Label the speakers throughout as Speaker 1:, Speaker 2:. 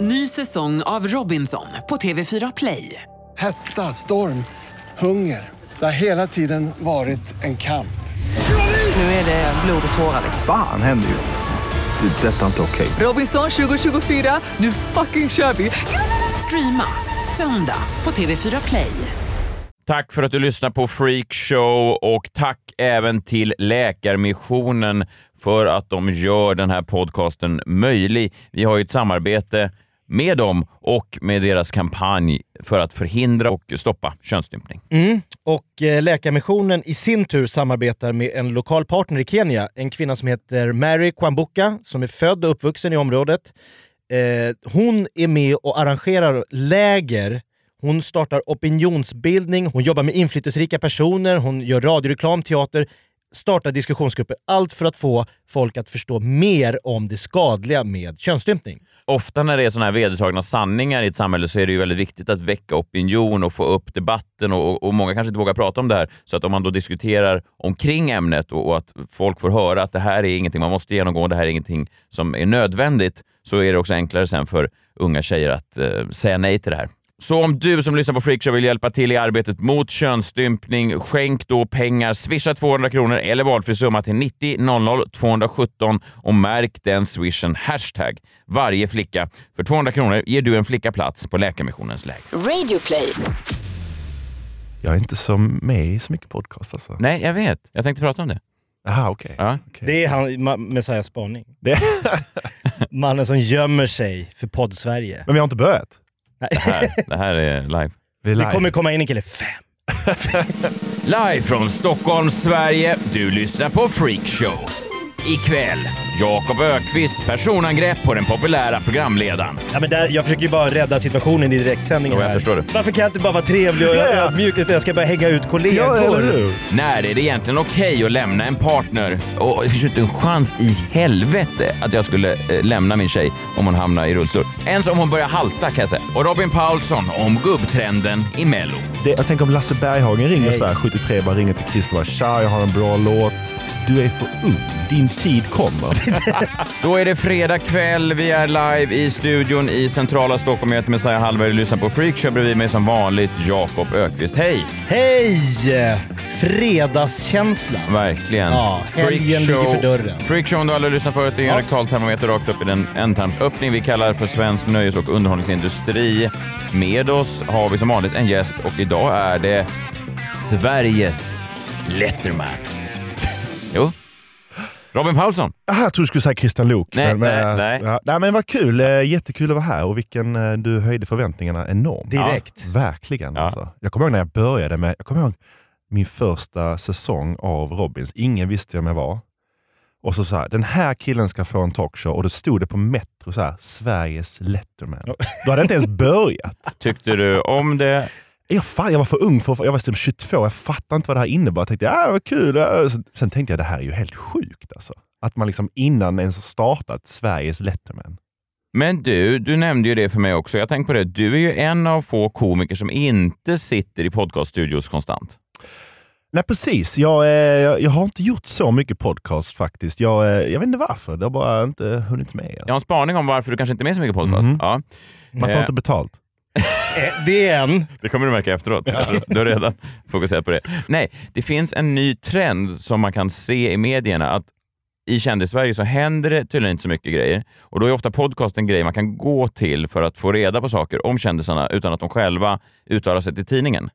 Speaker 1: Ny säsong av Robinson på TV4 Play.
Speaker 2: Hetta, storm, hunger. Det har hela tiden varit en kamp.
Speaker 1: Nu är det blod och tårar.
Speaker 3: Fan händer just nu. Det. är Detta är inte okej.
Speaker 1: Robinson 2024, nu fucking kör vi! Streama söndag på TV4 Play.
Speaker 4: Tack för att du lyssnar på Freak Show och tack även till Läkarmissionen för att de gör den här podcasten möjlig. Vi har ju ett samarbete med dem och med deras kampanj för att förhindra och stoppa könsstympning.
Speaker 5: Och eh, Läkarmissionen i sin tur samarbetar med en lokal partner i Kenya. En kvinna som heter Mary Kwambuka som är född och uppvuxen i området. Eh, hon är med och arrangerar läger. Hon startar opinionsbildning, hon jobbar med inflytelserika personer, hon gör radioreklam, teater, startar diskussionsgrupper. Allt för att få folk att förstå mer om det skadliga med könsstympning.
Speaker 4: Ofta när det är sådana här vedertagna sanningar i ett samhälle så är det ju väldigt viktigt att väcka opinion och få upp debatten och, och- och många kanske inte vågar prata om det här. Så att om man då diskuterar omkring ämnet och, och att folk får höra att det här är ingenting man måste genomgå, det här är ingenting som är nödvändigt, så är det också enklare sen för unga tjejer att eh, säga nej till det här. Så om du som lyssnar på Freakshow vill hjälpa till i arbetet mot könsstympning, skänk då pengar. Swisha 200 kronor eller valfri summa till 90 00 217 och märk den swishen hashtag varje flicka. För 200 kronor ger du en flicka plats på Läkarmissionens läger.
Speaker 6: Radioplay.
Speaker 7: Jag är inte så med i så mycket podcast alltså.
Speaker 4: Nej, jag vet. Jag tänkte prata om det.
Speaker 7: Aha, okej.
Speaker 4: Ja.
Speaker 7: Okej.
Speaker 5: Det är han, Ma- Messiahs spaning.
Speaker 7: Det-
Speaker 5: Mannen som gömmer sig för podd-Sverige.
Speaker 7: Men vi har inte börjat.
Speaker 4: Det här, det här är live.
Speaker 7: Vi är
Speaker 5: Det
Speaker 7: live.
Speaker 5: kommer komma in en kille, fem.
Speaker 4: Live från Stockholm, Sverige. Du lyssnar på Freakshow. Ikväll, Jakob Ökvist personangrepp på den populära programledaren.
Speaker 5: Ja, men där, jag försöker ju bara rädda situationen i direktsändningen
Speaker 4: Jo, jag
Speaker 5: här.
Speaker 4: förstår det.
Speaker 5: Varför kan jag inte bara vara trevlig och
Speaker 7: Ja.
Speaker 5: ödmjuk utan jag ska börja hänga ut kollegor?
Speaker 7: Ja, eller hur?
Speaker 4: När är det egentligen okej att lämna en partner? Och det finns ju inte en chans i helvete att jag skulle eh, lämna min tjej om hon hamnar i rullstol. Ens om hon börjar halta kan jag säga. Och Robin Paulsson om gubbtrenden i Mello.
Speaker 7: Det, jag tänker om Lasse Berghagen ringer
Speaker 5: Nej.
Speaker 7: så här, 73, bara ringer till Christer och bara “Tja, jag har en bra låt”. Du är för ung. Din tid kommer.
Speaker 4: Då är det fredag kväll. Vi är live i studion i centrala Stockholm. Jag heter Messiah Hallberg och lyssnar på Freak. Kör bredvid mig som vanligt Jakob Ökvist. Hej!
Speaker 5: Hej! Fredagskänsla.
Speaker 4: Verkligen.
Speaker 5: Ja, helgen
Speaker 4: Freakshow-
Speaker 5: ligger för dörren.
Speaker 4: Freakshow, om du aldrig lyssnat förut, det är en
Speaker 5: Ja.
Speaker 4: rektaltermometer rakt upp i den ändtarmsöppning vi kallar för svensk nöjes och underhållningsindustri. Med oss har vi som vanligt en gäst och idag är det Sveriges Letterman. Jo. Robin Paulsson.
Speaker 7: Aha, jag trodde du skulle säga Christian Luuk. eh,
Speaker 4: Nej, nej, nej.
Speaker 7: Ja, nej, men vad kul. Eh, Jättekul att vara här och vilken, eh, du höjde förväntningarna enormt.
Speaker 5: Direkt.
Speaker 7: Verkligen.
Speaker 4: Ja.
Speaker 7: Alltså. Jag kommer ihåg när jag började med, jag kommer ihåg min första säsong av Robins. Ingen visste vem jag var. Och så, så här, den här killen ska få en talkshow och då stod det på Metro så här, Sveriges Letterman. Då hade jag inte ens börjat.
Speaker 4: Tyckte du om det?
Speaker 7: Jag, fan, jag var för ung, för jag var typ 22, jag fattade inte vad det här innebar. Jag tänkte, ja vad kul. ja." Sen- Sen tänkte jag, det här är ju helt sjukt alltså. Att man liksom innan ens startat Sveriges Letterman.
Speaker 4: Men du, du nämnde ju det för mig också. Jag tänkte på det. Du är ju en av få komiker som inte sitter i podcaststudios konstant.
Speaker 7: Nej precis, jag, eh, jag, jag har inte gjort så mycket podcast faktiskt. Jag, eh, jag vet inte varför, det har bara inte hunnit med.
Speaker 4: Jag har
Speaker 7: Alltså.
Speaker 4: en spaning om varför du kanske inte är med så mycket podcast.
Speaker 7: Mhm.
Speaker 4: Ja.
Speaker 7: Man får
Speaker 4: Eh,
Speaker 7: inte betalt.
Speaker 5: Eh, Det är en.
Speaker 4: Det kommer du märka efteråt. Du har redan fokuserat på det. Nej, det finns en ny trend som man kan se i medierna. att I kändis-Sverige så händer det tydligen inte så mycket grejer. Och Då är ofta podcast en grej man kan gå till för att få reda på saker om kändisarna utan att de själva uttalar sig till tidningen.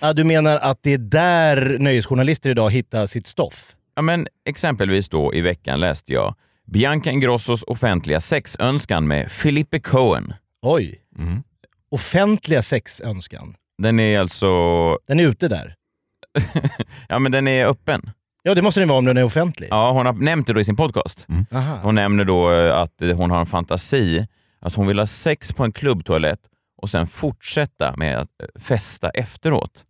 Speaker 5: Ja, du menar att det är där nöjesjournalister idag hittar sitt stoff?
Speaker 4: Ja, men exempelvis då i veckan läste jag Bianca Ingrossos offentliga sexönskan med Filipe Cohen.
Speaker 5: Oj.
Speaker 7: Mm.
Speaker 5: Offentliga sexönskan.
Speaker 4: Den är alltså...
Speaker 5: Den är ute där.
Speaker 4: Ja, men den är öppen.
Speaker 5: Ja, det måste den vara om den är offentlig.
Speaker 4: Ja, hon har nämnt det då i sin podcast.
Speaker 5: Aha.
Speaker 4: Hon nämner då eh, att eh, hon har en fantasi att hon vill ha sex på en klubbtoalett och sen fortsätta med att eh, festa efteråt.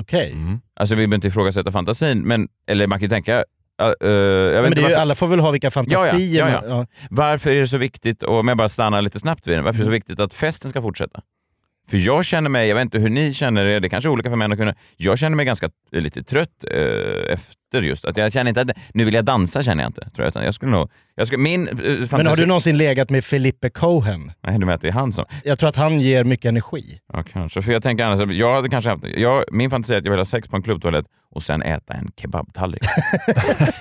Speaker 5: Okej.
Speaker 4: Alltså vi behöver inte ifrågasätta fantasin, men, eller man kan ju tänka... eh, eh, jag vet
Speaker 5: Men det
Speaker 4: inte
Speaker 5: är ju,
Speaker 4: varför,
Speaker 5: alla får väl ha vilka fantasier
Speaker 4: Ja, ja, ja,
Speaker 5: man- ja. Mm.
Speaker 4: varför är det så viktigt, och, om jag bara stannar lite snabbt vid den, varför är det så viktigt att festen ska fortsätta? För jag känner mig, jag vet inte hur ni känner er, det kanske är olika för män och kvinnor. Jag känner mig ganska eh, lite trött eh, efter just att jag känner inte att nu vill jag dansa känner jag inte. Tror jag, utan jag skulle nog... Jag skulle, min eh, fantasi...
Speaker 5: Men har du någonsin legat med Felipe Cohen?
Speaker 4: Nej, du menar att det är han som...
Speaker 5: Jag tror att han ger mycket energi.
Speaker 4: Ja, kanske. För jag tänker annars, jag hade kanske haft, jag, min fantasi är att jag vill ha sex på en klubbtoalett och sen äta en kebabtallrik.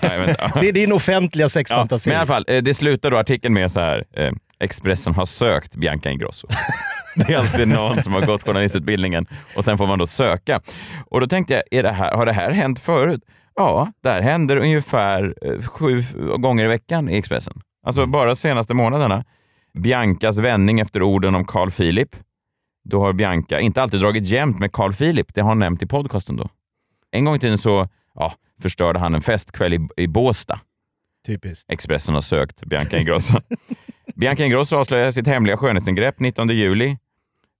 Speaker 4: Nej, vänta.
Speaker 5: Det är din offentliga
Speaker 4: Ja,
Speaker 5: sexfantasi.
Speaker 4: men i alla fall, eh, det slutar då artikeln med så här. Eh, Expressen har sökt Bianca Ingrosso. Det är alltid någon som har gått journalistutbildningen och sen får man då söka. Och då tänkte jag, är det här, har det här hänt förut? Ja, det här händer ungefär eh, sju gånger i veckan i Expressen. Alltså bara senaste månaderna. Biancas vändning efter orden om Carl Philip. Då har Bianca inte alltid dragit jämnt med Carl Philip. Det har hon nämnt i podcasten då. En gång i tiden så ja, förstörde han en festkväll i, i Båsta.
Speaker 5: Typiskt.
Speaker 4: Expressen har sökt Bianca Ingrosso. Bianca Ingrosso avslöjar sitt hemliga skönhetsingrepp 19 juli.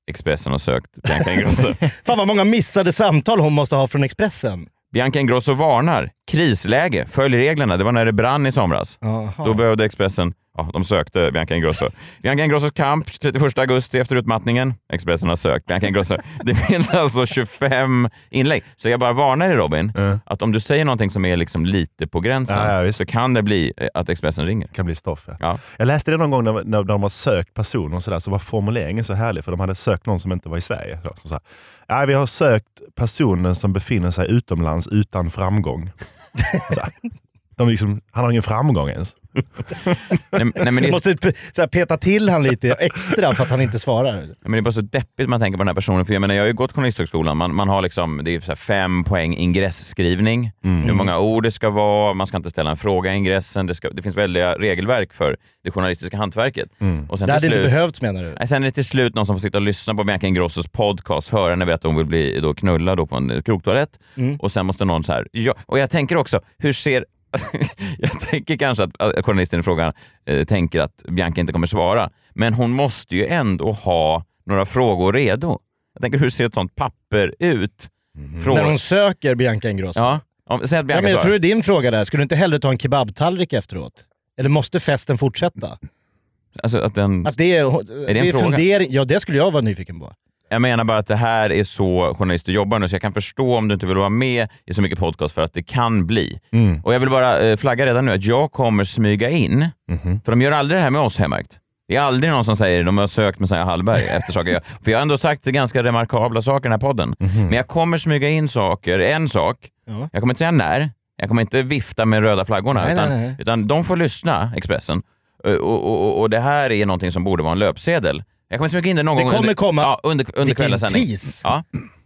Speaker 4: Expressen har sökt Bianca Ingrosso.
Speaker 5: Fan vad många missade samtal hon måste ha från Expressen.
Speaker 4: Bianca Ingrosso varnar. Krisläge. Följ reglerna. Det var när det brann i somras. Då behövde Expressen... Ja, de sökte Bianca Ingrosso. Bianca Ingrossos kamp 31 augusti efter utmattningen. Expressen har sökt Bianca Ingrosso. Det finns alltså 25 inlägg. Så jag bara varnar dig Robin, att om du säger någonting som är liksom lite på gränsen
Speaker 7: Ja, ja, visst.
Speaker 4: så kan det bli eh, att Expressen ringer.
Speaker 7: kan bli stoff. Ja.
Speaker 4: Ja.
Speaker 7: Jag läste det någon gång när, när, när de har sökt personer och sådär, så var formuleringen så härlig för de hade sökt någon som inte var i Sverige. Så, så, så här, "Nej, vi har sökt personen som befinner sig utomlands utan framgång. så, här, de liksom, han har ingen framgång ens.
Speaker 4: Nej, nej, men det
Speaker 5: Du
Speaker 4: är
Speaker 5: måste p- så här, peta till han lite extra för att han inte svarar.
Speaker 4: Ja, Men det är bara så deppigt man tänker på den här personen. För jag, menar, jag har ju gått journalisthögskolan. Man, man har liksom, det är så här fem poäng ingressskrivning.
Speaker 5: Mm.
Speaker 4: Hur många ord det ska vara, man ska inte ställa en fråga i ingressen. Det, ska, det finns väldiga regelverk för det journalistiska hantverket. Och sen
Speaker 5: Mm. Det
Speaker 4: till
Speaker 5: hade inte
Speaker 4: slut-
Speaker 5: behövts menar du?
Speaker 4: Nej, Sen är det till slut någon som får sitta och lyssna på Bianca Ingrossos podcast, höra henne berätta att hon vill bli då knullad då på en eh, krogtoalett.
Speaker 5: Mm.
Speaker 4: Och sen måste någon så här... Ja, och jag tänker också, hur ser... jag tänker kanske att att journalisten i frågan eh, tänker att Bianca inte kommer svara. Men hon måste ju ändå ha några frågor redo. Jag tänker, hur ser ett sånt papper ut? Frågor.
Speaker 5: Mhm. När hon söker Bianca Ingrosso.
Speaker 4: Ja, om, säg att
Speaker 5: Ja,
Speaker 4: Bianca
Speaker 5: men jag tror det
Speaker 4: svarar.
Speaker 5: är din fråga där. Skulle du inte hellre ta en kebabtallrik efteråt? Eller måste festen fortsätta?
Speaker 4: Alltså, att den...
Speaker 5: Att det är,
Speaker 4: Mm. en
Speaker 5: det är
Speaker 4: fråga?
Speaker 5: fundering. Ja, det skulle jag vara nyfiken på.
Speaker 4: Jag menar bara att det här är så journalister jobbar nu, så jag kan förstå om du inte vill vara med i så mycket podcast för att det kan bli.
Speaker 5: Mm.
Speaker 4: Och jag vill bara eh, flagga redan nu att jag kommer smyga in,
Speaker 5: Mhm.
Speaker 4: för de gör aldrig det här med oss har jag märkt. Det är aldrig någon som säger de har sökt med Sanna Hallberg efter saker jag... För jag har ändå sagt ganska remarkabla saker i den här podden. Men jag kommer smyga in saker, en sak.
Speaker 5: Mhm. Ja.
Speaker 4: Jag kommer inte säga när. Jag kommer inte vifta med röda flaggorna.
Speaker 5: Nej,
Speaker 4: utan,
Speaker 5: nej, nej.
Speaker 4: utan de får lyssna, Expressen. Eh, Och, och, och, och det här är någonting som borde vara en löpsedel. Jag kommer smyga in det någon
Speaker 5: Det
Speaker 4: gång
Speaker 5: kommer
Speaker 4: under,
Speaker 5: komma.
Speaker 4: Ja, under, under
Speaker 5: Vilken
Speaker 4: kvällens sändning.
Speaker 5: tease.
Speaker 4: Ja,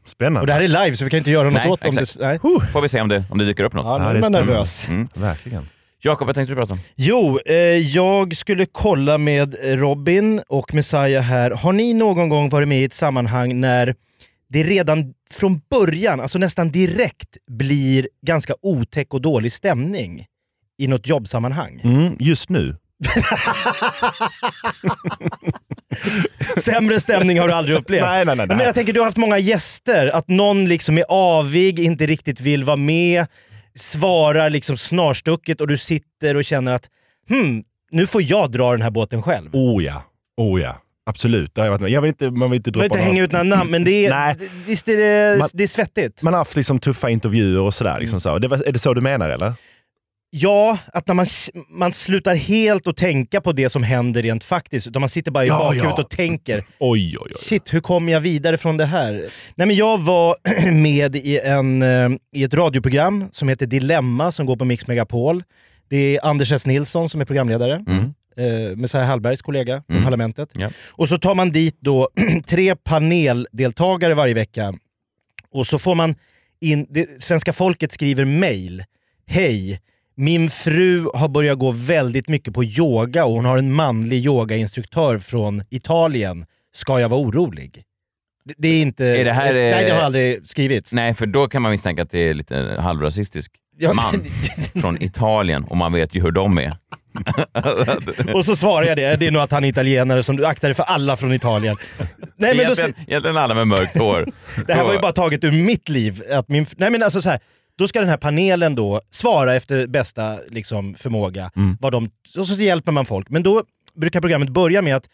Speaker 7: Spännande.
Speaker 5: Och det här är live så vi kan inte göra något
Speaker 4: Nej,
Speaker 5: åt om det...
Speaker 4: exakt.
Speaker 5: Nej.
Speaker 4: får vi se om det, om det dyker upp något.
Speaker 5: Ja, nu
Speaker 7: Ja,
Speaker 5: är
Speaker 7: det är
Speaker 5: man
Speaker 7: spännande.
Speaker 5: nervös.
Speaker 7: Verkligen.
Speaker 4: Jakob, vad tänkte du prata om?
Speaker 5: Jo, eh, jag skulle kolla med Robin och Messiah här. Har ni någon gång varit med i ett sammanhang när det redan från början, alltså nästan direkt, blir ganska otäck och dålig stämning i något jobbsammanhang?
Speaker 7: Mm, just nu.
Speaker 5: Sämre stämning har du aldrig upplevt.
Speaker 7: Nej, nej, nej, nej.
Speaker 5: Men jag tänker, du har haft många gäster. Att någon liksom är avig, inte riktigt vill vara med, svarar liksom snarstucket och du sitter och känner att hmm, nu får jag dra den här båten själv.
Speaker 7: Oh ja. Oh ja. Absolut. Det har Jag varit med. jag vill inte, man vill inte
Speaker 5: Jag behöver
Speaker 7: droppa
Speaker 5: inte hänga ut några namn, men det är,
Speaker 7: Nej.
Speaker 5: visst är det,
Speaker 7: Man-
Speaker 5: det är svettigt?
Speaker 7: Man har haft liksom tuffa intervjuer och sådär.
Speaker 5: Mm.
Speaker 7: Liksom så. Det var, är det så du menar eller?
Speaker 5: Ja, att när man, man slutar helt att tänka på det som händer rent faktiskt, utan man sitter bara i
Speaker 7: Ja,
Speaker 5: bakhuvudet
Speaker 7: ja.
Speaker 5: och tänker
Speaker 7: Oj, oj, oj.
Speaker 5: Shit, hur kom jag vidare från det här? Nej, men jag var med i, en, eh, i ett radioprogram som heter Dilemma som går på Mix Megapol. Det är Anders S. Nilsson som är programledare.
Speaker 7: Mm.
Speaker 5: Eh, Messiah Hallbergs kollega från Parlamentet.
Speaker 4: Ja.
Speaker 5: Och så tar man dit då tre paneldeltagare varje vecka. Och så får man in... Det, svenska folket skriver mejl. Hej! Min fru har börjat gå väldigt mycket på yoga och hon har en manlig yogainstruktör från Italien. Ska jag vara orolig? Det, det är inte...
Speaker 4: Är det här, eh,
Speaker 5: nej, det har aldrig skrivits.
Speaker 4: Nej, för då kan man misstänka att det är lite halvrasistisk
Speaker 5: Ja,
Speaker 4: man från Italien och man vet ju hur de är.
Speaker 5: Och så svarar jag det. Det är nog att han är italienare som du aktar dig för alla från Italien. Nej, men då,
Speaker 4: egentligen, egentligen alla med mörkt hår.
Speaker 5: Det här var ju bara taget ur mitt liv. Att min, nej men alltså så här, då ska den här panelen då svara efter bästa liksom, förmåga. Vad de, och så hjälper man folk. Men då brukar programmet börja med att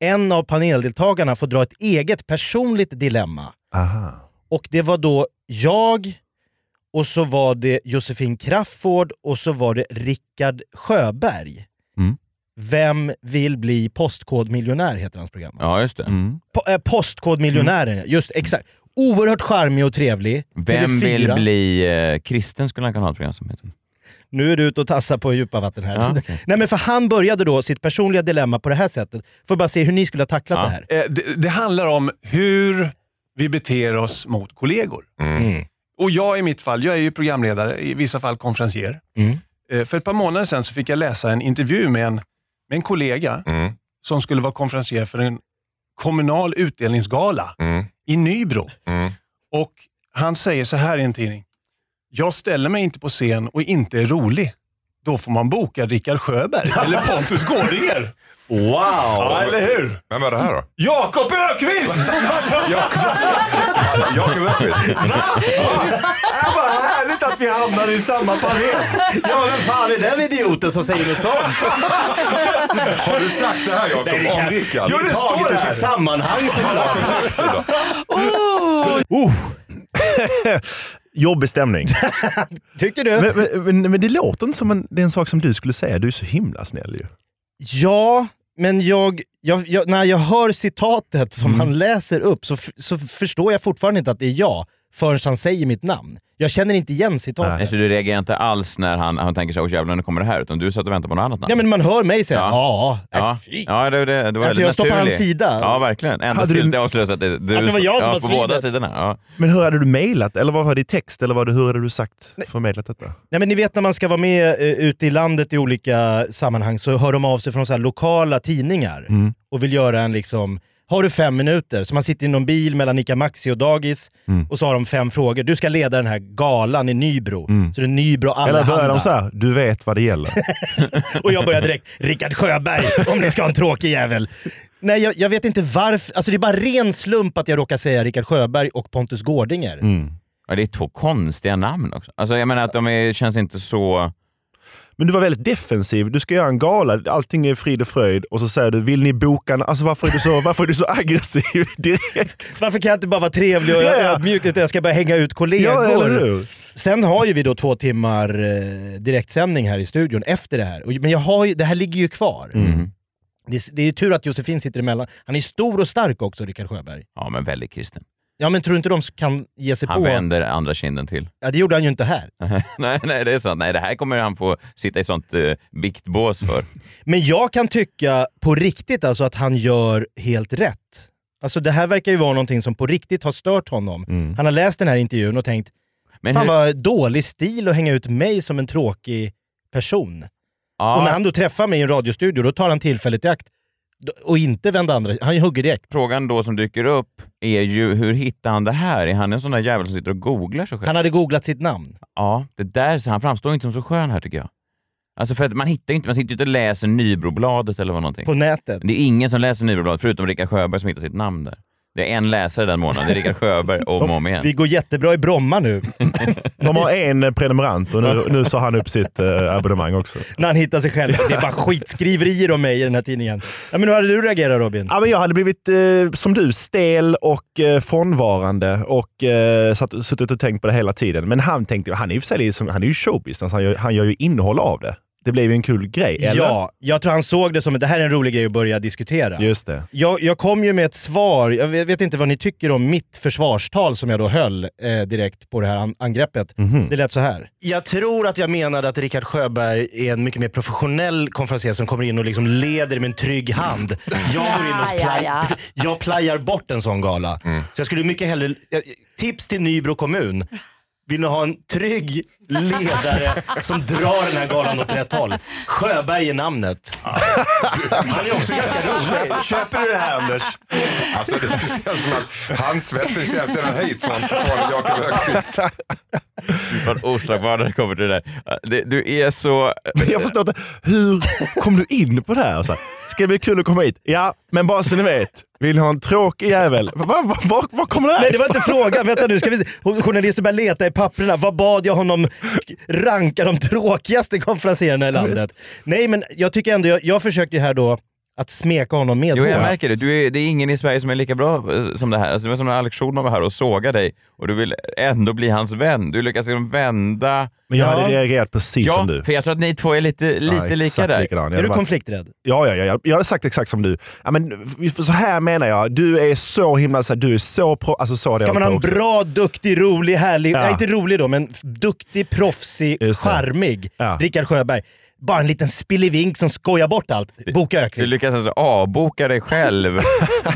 Speaker 5: En av paneldeltagarna får dra ett eget personligt dilemma.
Speaker 7: Aha.
Speaker 5: Och det var då jag, och så var det Josefin Crafoord och så var det Rickard Sjöberg.
Speaker 7: Mm.
Speaker 5: Vem vill bli postkodmiljonär heter hans program.
Speaker 4: Ja, just det.
Speaker 7: Mm.
Speaker 5: Po- eh, postkodmiljonären, just exakt. Oerhört charmig och trevlig.
Speaker 4: Mm. Vem vill
Speaker 5: TV4.
Speaker 4: bli eh, kristen skulle han kunna ha ett program som heter.
Speaker 5: Nu är du ute och tassar på djupa vatten här.
Speaker 4: Ja, okej.
Speaker 5: Nej men för han började då sitt personliga dilemma på det här sättet. Får bara se hur ni skulle ha tacklat
Speaker 4: Ja.
Speaker 5: det här.
Speaker 6: Eh, det, det handlar om hur vi beter oss mot kollegor. Och jag i mitt fall, jag är ju programledare, i vissa fall konferencier.
Speaker 5: Mm.
Speaker 6: Eh, För ett par månader sedan så fick jag läsa en intervju med en, med en kollega
Speaker 8: Mm.
Speaker 6: som skulle vara konferencier för en kommunal utdelningsgala
Speaker 8: Mm.
Speaker 6: i Nybro. Och han säger så här i en tidning. Jag ställer mig inte på scen och inte är rolig. Då får man boka Rickard Sjöberg eller Pontus Gårdinger.
Speaker 8: Wow!
Speaker 6: Ja, eller hur?
Speaker 8: Vem var det här då?
Speaker 6: Jakob Ökvist!
Speaker 8: Jakob Öqvist.
Speaker 6: Äh, vad härligt att vi hamnar i samma panel.
Speaker 8: Ja, vem fan är den idioten som säger något sånt? Har du sagt det här Jakob?
Speaker 5: Nej, det
Speaker 8: Om
Speaker 5: kan-
Speaker 8: Rickard?
Speaker 6: Jo, det står
Speaker 8: Taget ur
Speaker 6: här.
Speaker 8: sitt sammanhang som alla kontexter då.
Speaker 7: Jobbig stämning.
Speaker 5: Tycker du?
Speaker 7: men, men- men, men det låter inte som en, det är en sak som du skulle säga. Du är så himla snäll ju.
Speaker 5: Ja, men jag, jag, jag, när jag hör citatet som
Speaker 4: Mm.
Speaker 5: han läser upp så, f- så förstår jag fortfarande inte att det är jag förrän han säger mitt namn. Jag känner inte igen citatet.
Speaker 4: Nej, så du reagerar inte alls när han, han tänker så här, åh jävlar nu kommer det här, utan du satt och väntade på något annat namn?
Speaker 5: Nej, men man hör mig säga ja, ja. äh,
Speaker 4: Ja,
Speaker 5: fy.
Speaker 4: ja det, det, det var
Speaker 5: Alltså,
Speaker 4: väldigt
Speaker 5: jag står på
Speaker 4: naturlig.
Speaker 5: hans sida.
Speaker 4: Ja, verkligen. Ända
Speaker 7: Hade
Speaker 4: tills
Speaker 7: du-
Speaker 4: det avslöjas att det, du,
Speaker 5: Att det var jag
Speaker 4: ja,
Speaker 5: som var
Speaker 4: På båda
Speaker 5: svinet.
Speaker 4: sidorna. Ja.
Speaker 7: Men hur hade du mejlat? Eller vad var det i text? Eller vad, hur hade du sagt förmedlat detta?
Speaker 5: Nej, men ni vet när man ska vara med eh, ute i landet i olika sammanhang så hör de av sig från så här lokala tidningar
Speaker 7: Mm.
Speaker 5: och vill göra en liksom har du fem minuter? Så man sitter i någon bil mellan Ica Maxi och dagis
Speaker 7: Mm.
Speaker 5: och så har de fem frågor. Du ska leda den här galan i Nybro. Så det är Nybro alla
Speaker 7: Mm. Eller börjar de så här, du vet vad det gäller.
Speaker 5: Och jag börjar direkt, Rickard Sjöberg, om ni ska ha en tråkig jävel. Nej, jag, jag vet inte varför. Alltså det är bara ren slump att jag råkar säga Rickard Sjöberg och Pontus Gårdinger.
Speaker 7: Mm.
Speaker 4: ja, det är två konstiga namn också. Alltså jag menar att de är, känns inte så...
Speaker 7: Men du var väldigt defensiv. Du ska göra en gala, allting är frid och fröjd och så säger du, vill ni boka en... Alltså varför är du så, varför är du så aggressiv direkt?
Speaker 5: Så varför kan jag inte bara vara trevlig och
Speaker 7: Ja, ja.
Speaker 5: ödmjuk utan jag ska bara hänga ut
Speaker 7: Ja,
Speaker 5: kollegor?
Speaker 7: eller hur?
Speaker 5: Sen har ju vi då två timmar eh, direktsändning här i studion efter det här. Och- Men jag har ju, det här ligger ju kvar.
Speaker 4: Mm.
Speaker 5: Det, är- det är ju tur att Josefin sitter emellan. Han är stor och stark också, Rickard Sjöberg.
Speaker 4: Ja, men väldigt kristen.
Speaker 5: Ja men tror du inte de kan ge sig
Speaker 4: Han
Speaker 5: på...
Speaker 4: vänder andra kinden till.
Speaker 5: Ja, det gjorde han ju inte här.
Speaker 4: nej, nej, det är sant. Nej, det här kommer han få sitta i sånt eh, biktbås för.
Speaker 5: Men jag kan tycka på riktigt alltså att han gör helt rätt. Alltså det här verkar ju vara någonting som på riktigt har stört honom. Han har läst den här intervjun och tänkt,
Speaker 4: Mm. Men
Speaker 5: fan
Speaker 4: hur-
Speaker 5: vad dålig stil att hänga ut mig som en tråkig person.
Speaker 4: ja,
Speaker 5: Och när han då träffar mig i en radiostudio, då tar han tillfället i akt d- och inte vända andra, han hugger direkt.
Speaker 4: Frågan då som dyker upp är ju, hur hittar han det här? Är han en sån där jävel som sitter och googlar sig själv?
Speaker 5: Han hade googlat sitt namn.
Speaker 4: Ja, det där, så han framstår ju inte som så skön här tycker jag. Alltså för att man hittar ju inte, man sitter ju inte och läser Nybrobladet eller vad någonting.
Speaker 5: På nätet.
Speaker 4: Det är ingen som läser Nybrobladet förutom Rickard Sjöberg som hittar sitt namn där. Det är en läsare den månaden, det är Rickard Sjöberg om och om igen.
Speaker 5: Vi går jättebra i Bromma nu,
Speaker 7: De har en eh, prenumerant och nu, nu sa han upp sitt eh, abonnemang också.
Speaker 5: när han hittar sig själv. Det är bara skitskriverier om mig i den här tidningen. Ja, men hur hade du reagerat Robin?
Speaker 7: Ja, men jag hade blivit eh, som du, stel och eh, frånvarande och eh, satt, suttit och tänkt på det hela tiden. Men han tänkte, han är ju, för sig liksom, han är ju showbusiness, han gör, han gör ju innehåll av det. Det blev ju en kul grej, eller?
Speaker 5: Ja, jag tror han såg det som att det här är en rolig grej att börja diskutera.
Speaker 7: Just det.
Speaker 5: Jag, jag kom ju med ett svar, jag vet vet inte vad ni tycker om mitt försvarstal som jag då höll eh, direkt på det här an- angreppet.
Speaker 6: Mhm.
Speaker 5: Det lät så här. Jag tror att jag menade att Rickard Sjöberg är en mycket mer professionell konferencier som kommer in och liksom leder med en trygg hand. Jag går in och plaj,
Speaker 9: Ja, ja.
Speaker 5: jag plajar bort en sån gala.
Speaker 6: Mm.
Speaker 5: Så jag skulle mycket hellre, jag- tips till Nybro kommun. Vill ni ha en trygg ledare som drar den här galan åt rätt håll? Sjöberg är namnet. Han är också ganska rolig.
Speaker 6: Köper du det här Anders?
Speaker 8: Alltså det känns som att handsvetten känns redan hit från, från Jakob Öqvist.
Speaker 4: Vad oslagbart när det kommer till det där. Det, du är så...
Speaker 7: Men jag förstår inte, hur kom du in på det här? Så här? Ska det bli kul att komma hit? Ja, men bara så ni vet, vill ni ha en tråkig jävel? Var, var, var, var kommer det här
Speaker 5: Nej det var inte frågan, vänta nu ska vi se. Hon- Journalisten började leta i papperna, vad bad jag honom ranka de tråkigaste konferenserna i landet? Nej men jag tycker ändå, jag, jag försökte ju här då att smeka honom med
Speaker 4: Jo, jag
Speaker 5: hår.
Speaker 4: märker det. Du är, det är ingen i Sverige som är lika bra eh, som det här. Alltså, det var som när Alex Schulman var här och sågade dig och du vill ändå bli hans vän. Du lyckas liksom vända...
Speaker 7: Men jag
Speaker 5: Ja.
Speaker 7: hade reagerat precis
Speaker 4: Ja,
Speaker 7: som du.
Speaker 4: för jag tror att ni två är lite, lite
Speaker 7: Ja,
Speaker 4: lika
Speaker 7: exakt
Speaker 4: där.
Speaker 7: likadan. Jag
Speaker 5: Är
Speaker 7: hade
Speaker 5: du
Speaker 7: bara-
Speaker 5: konflikträdd?
Speaker 7: Ja, ja, ja, jag- jag hade sagt exakt som du. Ja, men, för så här menar jag, du är så himla... Så här, du är så... Pro, alltså, så hade
Speaker 5: Ska
Speaker 7: jag
Speaker 5: man ha en
Speaker 7: också.
Speaker 5: bra, duktig, rolig, härlig,
Speaker 7: Ja.
Speaker 5: nej inte rolig då, men f- duktig, proffsig,
Speaker 7: Just det.
Speaker 5: charmig
Speaker 7: Ja.
Speaker 5: Rickard Sjöberg. Bara en liten spillevink som skojar bort allt. Boka
Speaker 4: Du
Speaker 5: Öqvist.
Speaker 4: lyckas alltså avboka dig själv.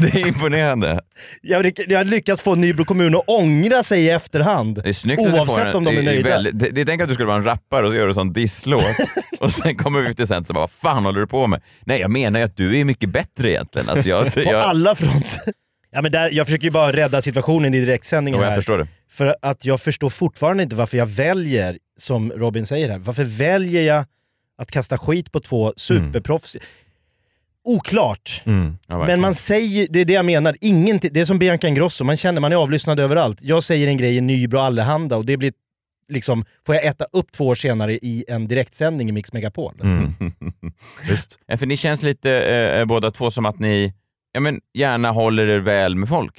Speaker 4: det är imponerande.
Speaker 5: jag, lyck- jag lyckas få Nybro kommun att ångra sig i efterhand.
Speaker 4: Det är snyggt att du får
Speaker 5: oavsett
Speaker 4: en,
Speaker 5: om de
Speaker 4: det
Speaker 5: är nöjda.
Speaker 4: väldigt- det, det, tänk att du skulle vara en rappare och så gör du en sån disslåt och sen kommer vi till sen så bara, vad fan håller du på med? Nej, jag menar ju att du är mycket bättre egentligen. Alltså, jag,
Speaker 5: På
Speaker 4: jag,
Speaker 5: alla fronter. Ja, men där, jag försöker ju bara rädda situationen i direktsändningen
Speaker 4: Jo, jag
Speaker 5: här.
Speaker 4: förstår det.
Speaker 5: För att jag förstår fortfarande inte varför jag väljer, som Robin säger här, varför väljer jag att kasta skit på
Speaker 4: Mm.
Speaker 5: två superproffs? Oklart.
Speaker 4: Ja,
Speaker 5: Men
Speaker 4: Mm. verkligen.
Speaker 5: man säger, det är det jag menar, ingenting, det är som Bianca Ingrosso, man känner man är avlyssnad överallt. Jag säger en grej i Nybro Allehanda och det blir liksom, får jag äta upp två år senare i en direktsändning i Mix Megapol.
Speaker 4: Mm.
Speaker 7: Visst.
Speaker 4: Ja, För ni känns lite eh, båda två som att ni ja, men, gärna håller er väl med folk.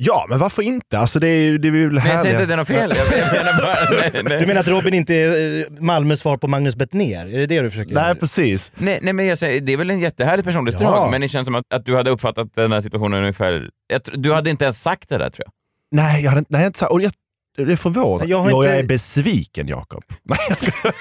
Speaker 7: Ja, men varför inte? Alltså, det är ju det är väl
Speaker 4: Nej, jag säger inte att det
Speaker 7: härliga.
Speaker 4: är något fel. Jag, jag menar bara, nej, nej.
Speaker 5: Du menar att Robin inte är eh, Malmös svar på Magnus Bettner? Är det det du försöker
Speaker 7: Nej, precis.
Speaker 4: Nej, nej men jag säger, det är väl en jättehärlig personlighetsdrag,
Speaker 7: Ja.
Speaker 4: men det känns som att, att du hade uppfattat den här situationen ungefär... Jag, tr- du hade inte ens sagt det där tror jag.
Speaker 7: Nej, jag hade inte... Nej, inte så, och jag, det är förvånad.
Speaker 5: Jag
Speaker 7: Jag,
Speaker 5: har inte-
Speaker 7: jag är besviken, Jakob. Nej, jag skojar.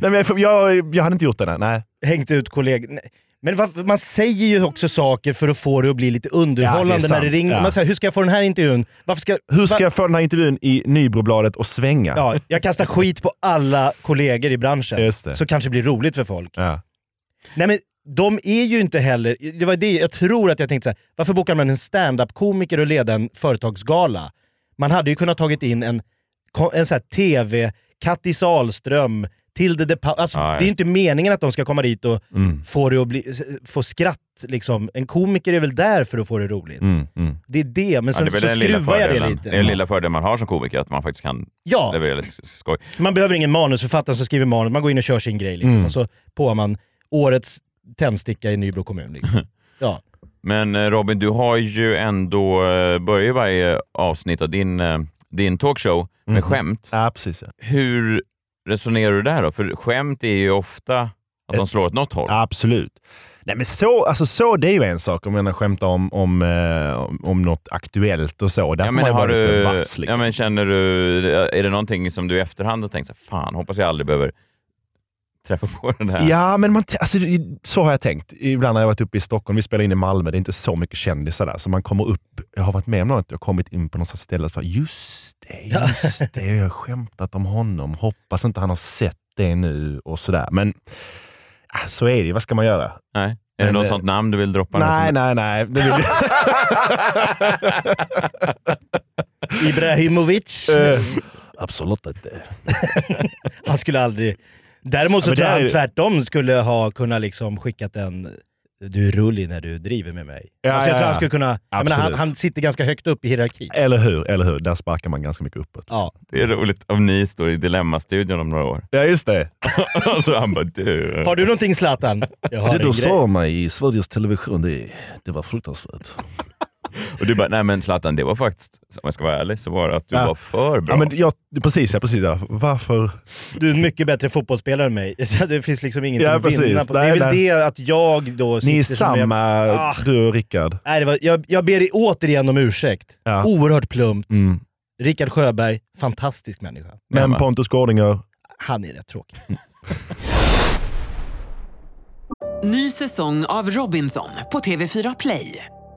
Speaker 7: Nej, men jag, jag, jag hade inte gjort det. där, Nej.
Speaker 5: hängt ut kollegor. Nej. Men vad- man säger ju också saker för att få det att bli lite underhållande
Speaker 7: Ja, det är
Speaker 5: när det
Speaker 7: sant.
Speaker 5: ringer.
Speaker 7: Ja.
Speaker 5: Man säger, hur ska jag få den här intervjun? Varför ska,
Speaker 7: Hur ska
Speaker 5: va-
Speaker 7: jag få den här intervjun i Nybrobladet att svänga?
Speaker 5: Ja, jag kastar skit på alla kollegor i branschen.
Speaker 7: Just det.
Speaker 5: Så kanske det blir roligt för folk.
Speaker 7: Ja.
Speaker 5: Nej men de är ju inte heller... Det var det jag tror att jag tänkte så här, varför bokar man en stand-up-komiker och leder en företagsgala? Man hade ju kunnat tagit in en, ko- en så här TV, Kattis Ahlström, Tilde de pa- alltså,
Speaker 4: Ja, ja.
Speaker 5: Det är ju inte meningen att de ska komma dit och
Speaker 7: Mm.
Speaker 5: få, det att bli, få skratt. Liksom. En komiker är väl där för att få det roligt.
Speaker 7: Mm, mm.
Speaker 5: Det är det, men
Speaker 4: Ja,
Speaker 5: sen
Speaker 4: det är väl
Speaker 5: så
Speaker 4: den lilla
Speaker 5: skruvar jag det
Speaker 4: fördelen.
Speaker 5: lite.
Speaker 4: Det är den lilla fördelen man har som komiker, att man faktiskt kan
Speaker 5: Ja,
Speaker 4: leverera lite s- skoj.
Speaker 5: Man behöver ingen manusförfattare som skriver manus, man går in och kör sin grej liksom.
Speaker 7: Mm.
Speaker 5: och så på man årets tändsticka i Nybro kommun. Liksom. ja.
Speaker 4: Men eh, Robin, du har ju ändå, eh, börjar ju varje avsnitt av din, eh, din talkshow med
Speaker 7: Mhm.
Speaker 4: skämt.
Speaker 7: Ja, precis. Ja.
Speaker 4: Hur resonerar du där då? För skämt är ju ofta att de
Speaker 7: Ett-
Speaker 4: slår åt något håll.
Speaker 7: Absolut. Nej, men så, alltså, så, det är ju en sak om man skämtar om, om, eh, om, om något aktuellt och så. Där
Speaker 4: Ja,
Speaker 7: får
Speaker 4: men
Speaker 7: man
Speaker 4: har
Speaker 7: vara lite
Speaker 4: du,
Speaker 7: vass.
Speaker 4: ja,
Speaker 7: Liksom.
Speaker 4: men känner du, eh, är det någonting som du i efterhand har tänkt så här, fan hoppas jag aldrig behöver träffa på den här?
Speaker 7: Ja, men man, t- alltså, i- så har jag tänkt. Ibland har jag varit uppe i Stockholm, vi spelar in i Malmö, det är inte så mycket kändisar där. Så man kommer upp, jag har varit med om något, jag har kommit in på något sorts ställe och så bara, just det, just det, jag har skämtat om honom. Hoppas inte han har sett det nu och sådär. Men ah, så är det ju. vad ska man göra?
Speaker 4: Nej. Är det
Speaker 7: Men,
Speaker 4: något
Speaker 7: eh,
Speaker 4: sånt namn du vill droppa?
Speaker 7: Nej, nej, nej. Det vill
Speaker 5: Ibrahimovic,
Speaker 7: Eh. Absolut inte.
Speaker 5: han skulle aldrig... Däremot så
Speaker 7: Ja, men
Speaker 5: tror
Speaker 7: det
Speaker 5: jag
Speaker 7: är
Speaker 5: han
Speaker 7: ju-
Speaker 5: tvärtom skulle ha kunnat liksom skickat en du är rullig när du driver med mig.
Speaker 7: Ja,
Speaker 5: alltså jag
Speaker 7: ja,
Speaker 5: tror
Speaker 7: ja.
Speaker 5: han skulle kunna... Jag menar, han,
Speaker 7: Absolut.
Speaker 5: han sitter ganska högt upp i hierarkin.
Speaker 7: Eller hur, eller hur. Där sparkar man ganska mycket uppåt.
Speaker 5: Ja.
Speaker 4: Det är roligt om ni står i Dilemmastudion om några år.
Speaker 7: Ja, just det.
Speaker 4: Och så han bara du.
Speaker 5: Har du någonting Zlatan? Jag har en grej.
Speaker 7: mig i Sveriges Television, det, det var fruktansvärt.
Speaker 4: Och du bara, nej men Zlatan det var faktiskt, om jag ska vara ärlig, så var det att du
Speaker 7: Ja.
Speaker 4: var för bra.
Speaker 7: Ja, men jag, precis, ja, precis. Ja. Varför?
Speaker 5: Du är en mycket bättre fotbollsspelare än mig. Så det finns liksom ingenting
Speaker 7: Ja,
Speaker 5: att vinna
Speaker 7: precis.
Speaker 5: på. det
Speaker 7: Nej,
Speaker 5: är väl
Speaker 7: nej.
Speaker 5: det att jag då sitter
Speaker 7: Ni är
Speaker 5: som jag-
Speaker 7: samma,
Speaker 5: Ah.
Speaker 7: du och Rickard.
Speaker 5: Nej, det var, jag, jag ber i- återigen om ursäkt.
Speaker 7: Ja.
Speaker 5: Oerhört plumpt.
Speaker 7: Mm.
Speaker 5: Rickard Sjöberg, fantastisk människa.
Speaker 7: Men
Speaker 4: Emma.
Speaker 7: Pontus Gårdinger,
Speaker 5: Han är rätt tråkig.
Speaker 1: Ny säsong av Robinson på TV4 Play.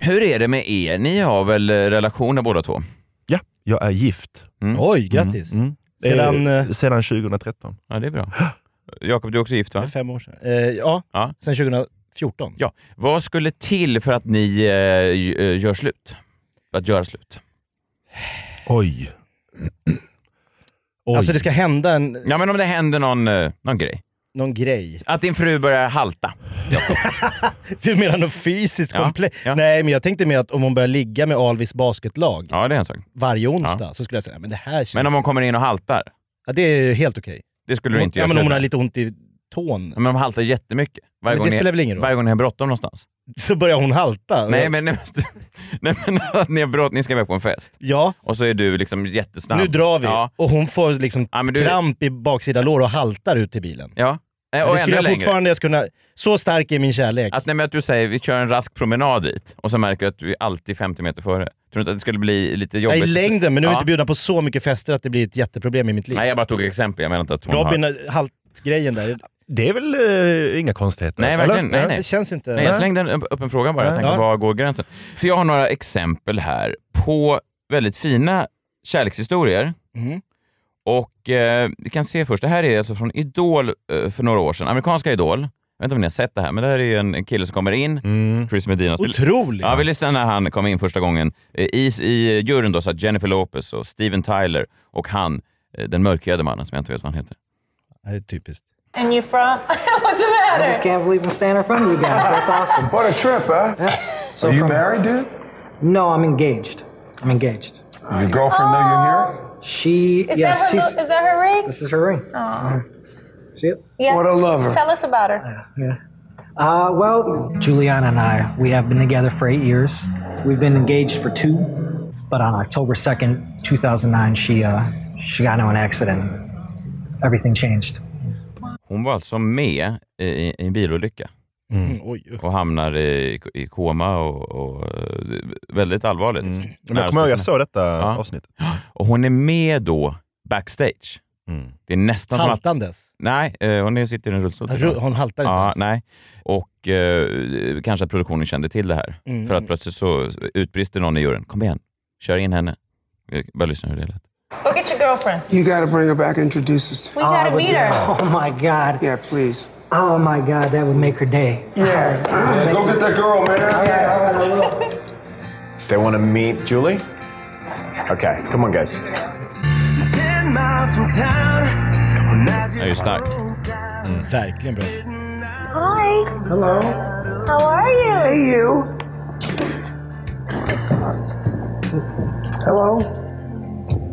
Speaker 4: Hur är det med er? Ni har väl eh, relationer båda två?
Speaker 7: Ja, jag är gift.
Speaker 5: Oj, grattis.
Speaker 7: Sedan,
Speaker 5: Mm, Sedan, eh,
Speaker 7: sedan 2013.
Speaker 4: Ja, det är bra. Jakob, du är också gift va?
Speaker 5: Fem år sedan. Eh, ja,
Speaker 4: Ja.
Speaker 5: sen 2014.
Speaker 4: ja. Vad skulle till för att ni eh, g- eh, gör slut? För Att göra slut?
Speaker 7: Oj. Oj.
Speaker 5: Alltså det ska hända en,
Speaker 4: Ja, men om det händer någon, eh, någon grej.
Speaker 5: någon grej.
Speaker 4: Att din fru börjar halta.
Speaker 5: Du menar något fysiskt
Speaker 4: Ja,
Speaker 5: komplett?
Speaker 4: ja.
Speaker 5: Nej, men jag tänkte mer att om hon börjar ligga med Alvis basketlag
Speaker 4: Ja, det är en sak.
Speaker 5: varje onsdag så skulle jag säga, men det här känns...
Speaker 4: Men om hon kommer in och haltar?
Speaker 5: ja, det är ju helt okej.
Speaker 4: Det skulle du
Speaker 5: Hon-
Speaker 4: inte
Speaker 5: Ja,
Speaker 4: göra
Speaker 5: men
Speaker 4: slut
Speaker 5: om hon
Speaker 4: med.
Speaker 5: har lite ont i tån
Speaker 4: Men de haltar jättemycket. Varje
Speaker 5: Men
Speaker 4: gång
Speaker 5: det
Speaker 4: ni-
Speaker 5: spelar väl ingen roll?
Speaker 4: Varje gång ni har bråttom någonstans.
Speaker 5: så börjar hon halta.
Speaker 4: Nej men, nej, men- nej, men att ni har bråttom, ni ska iväg på en fest.
Speaker 5: Ja,
Speaker 4: Och så är du liksom jättesnabb.
Speaker 5: nu drar vi.
Speaker 4: Ja.
Speaker 5: Och hon får liksom
Speaker 4: Ja, men du-
Speaker 5: kramp i baksida lår och haltar ut till bilen.
Speaker 4: ja. Nej, Och
Speaker 5: det
Speaker 4: ännu
Speaker 5: skulle jag
Speaker 4: längre.
Speaker 5: fortfarande kunna... Så stark är min kärlek.
Speaker 4: Att, nej, men att du säger vi kör en rask promenad dit och så märker du att du är alltid 50 meter före. Tror du inte att det skulle bli lite
Speaker 5: Ja,
Speaker 4: jobbigt?
Speaker 5: I längden, men nu är jag
Speaker 4: Ja.
Speaker 5: inte bjuden på så mycket fester att det blir ett jätteproblem i mitt liv.
Speaker 4: Nej, jag bara tog exempel. Jag menar inte att hon
Speaker 5: Robin,
Speaker 4: har...
Speaker 5: haltgrejen där,
Speaker 7: Det är väl eh, inga konstigheter?
Speaker 4: Nej, verkligen.
Speaker 7: eller?
Speaker 4: Nej, nej.
Speaker 5: det känns inte...
Speaker 4: Nej, jag slängde en upp- upp en fråga bara. Jag tänkte,
Speaker 5: Ja.
Speaker 4: var går gränsen? För jag har några exempel här på väldigt fina kärlekshistorier.
Speaker 5: Mhm.
Speaker 4: Och eh, vi kan se först, det här är alltså från Idol eh, för några år sedan. Amerikanska Idol. Jag vet inte om ni har sett det här, men det här är ju en, en kille som kommer in,
Speaker 7: Mm.
Speaker 4: Chris Medina. spelar-
Speaker 5: Otroligt!
Speaker 4: Ja, vi lyssnade när han kom in första gången. Eh, I, i juryn då satt Jennifer Lopez och Steven Tyler och han, eh, den mörkhyade mannen som jag inte vet vad han heter.
Speaker 5: Det är typiskt.
Speaker 10: And you from? What's the matter? I just can't believe I'm standing in front of you guys. That's awesome.
Speaker 11: What a trip, huh?
Speaker 10: So
Speaker 11: Are you
Speaker 10: from-
Speaker 11: married, dude?
Speaker 10: No, I'm engaged. I'm engaged.
Speaker 11: Does your girlfriend know you're here?
Speaker 10: She.
Speaker 12: Is
Speaker 10: yes,
Speaker 12: that her?
Speaker 10: she's.
Speaker 12: Is that her ring?
Speaker 10: This is her ring. Uh-huh. See it?
Speaker 12: Yeah.
Speaker 11: What a lover.
Speaker 12: Tell us about her.
Speaker 10: Yeah. Uh, well, Juliana and I, we have been together for eight years. We've been engaged for two, but on October second, two thousand nine, she uh, she got into an accident. Everything changed.
Speaker 4: Hon var alltså med i, i en bilolycka.
Speaker 7: Mm.
Speaker 5: Mm, Oj.
Speaker 4: och hamnar i, i koma och, och eh, väldigt allvarligt.
Speaker 7: Mm. Men jag kommer ihåg, jag såg detta
Speaker 4: Ja.
Speaker 7: avsnittet.
Speaker 4: Och hon är med då backstage.
Speaker 7: Mm.
Speaker 4: Det är nästan som att...
Speaker 5: Haltandes?
Speaker 4: Nej, eh, hon är- sitter i en rullstol.
Speaker 5: Ru- Hon haltar alltså. inte
Speaker 4: Ja, nej.
Speaker 5: alls.
Speaker 4: Och eh, kanske att produktionen kände till det här.
Speaker 5: Mm.
Speaker 4: För att plötsligt så utbrister någon i juryn. Kom igen, kör in henne. Jag bara lyssna hur det lät.
Speaker 12: Go get your girlfriend.
Speaker 11: You gotta bring her back and introduce us to
Speaker 12: We gotta meet her.
Speaker 10: Oh my God.
Speaker 11: Yeah, please.
Speaker 10: Oh my God, that would make her day.
Speaker 11: Yeah. Go get that girl, man.
Speaker 13: They want to meet Julie? Okay, come on, guys.
Speaker 4: Det är ju starkt.
Speaker 5: Verkligen bra.
Speaker 12: Hi. Hello. How are you?
Speaker 11: Hey, you. Hello.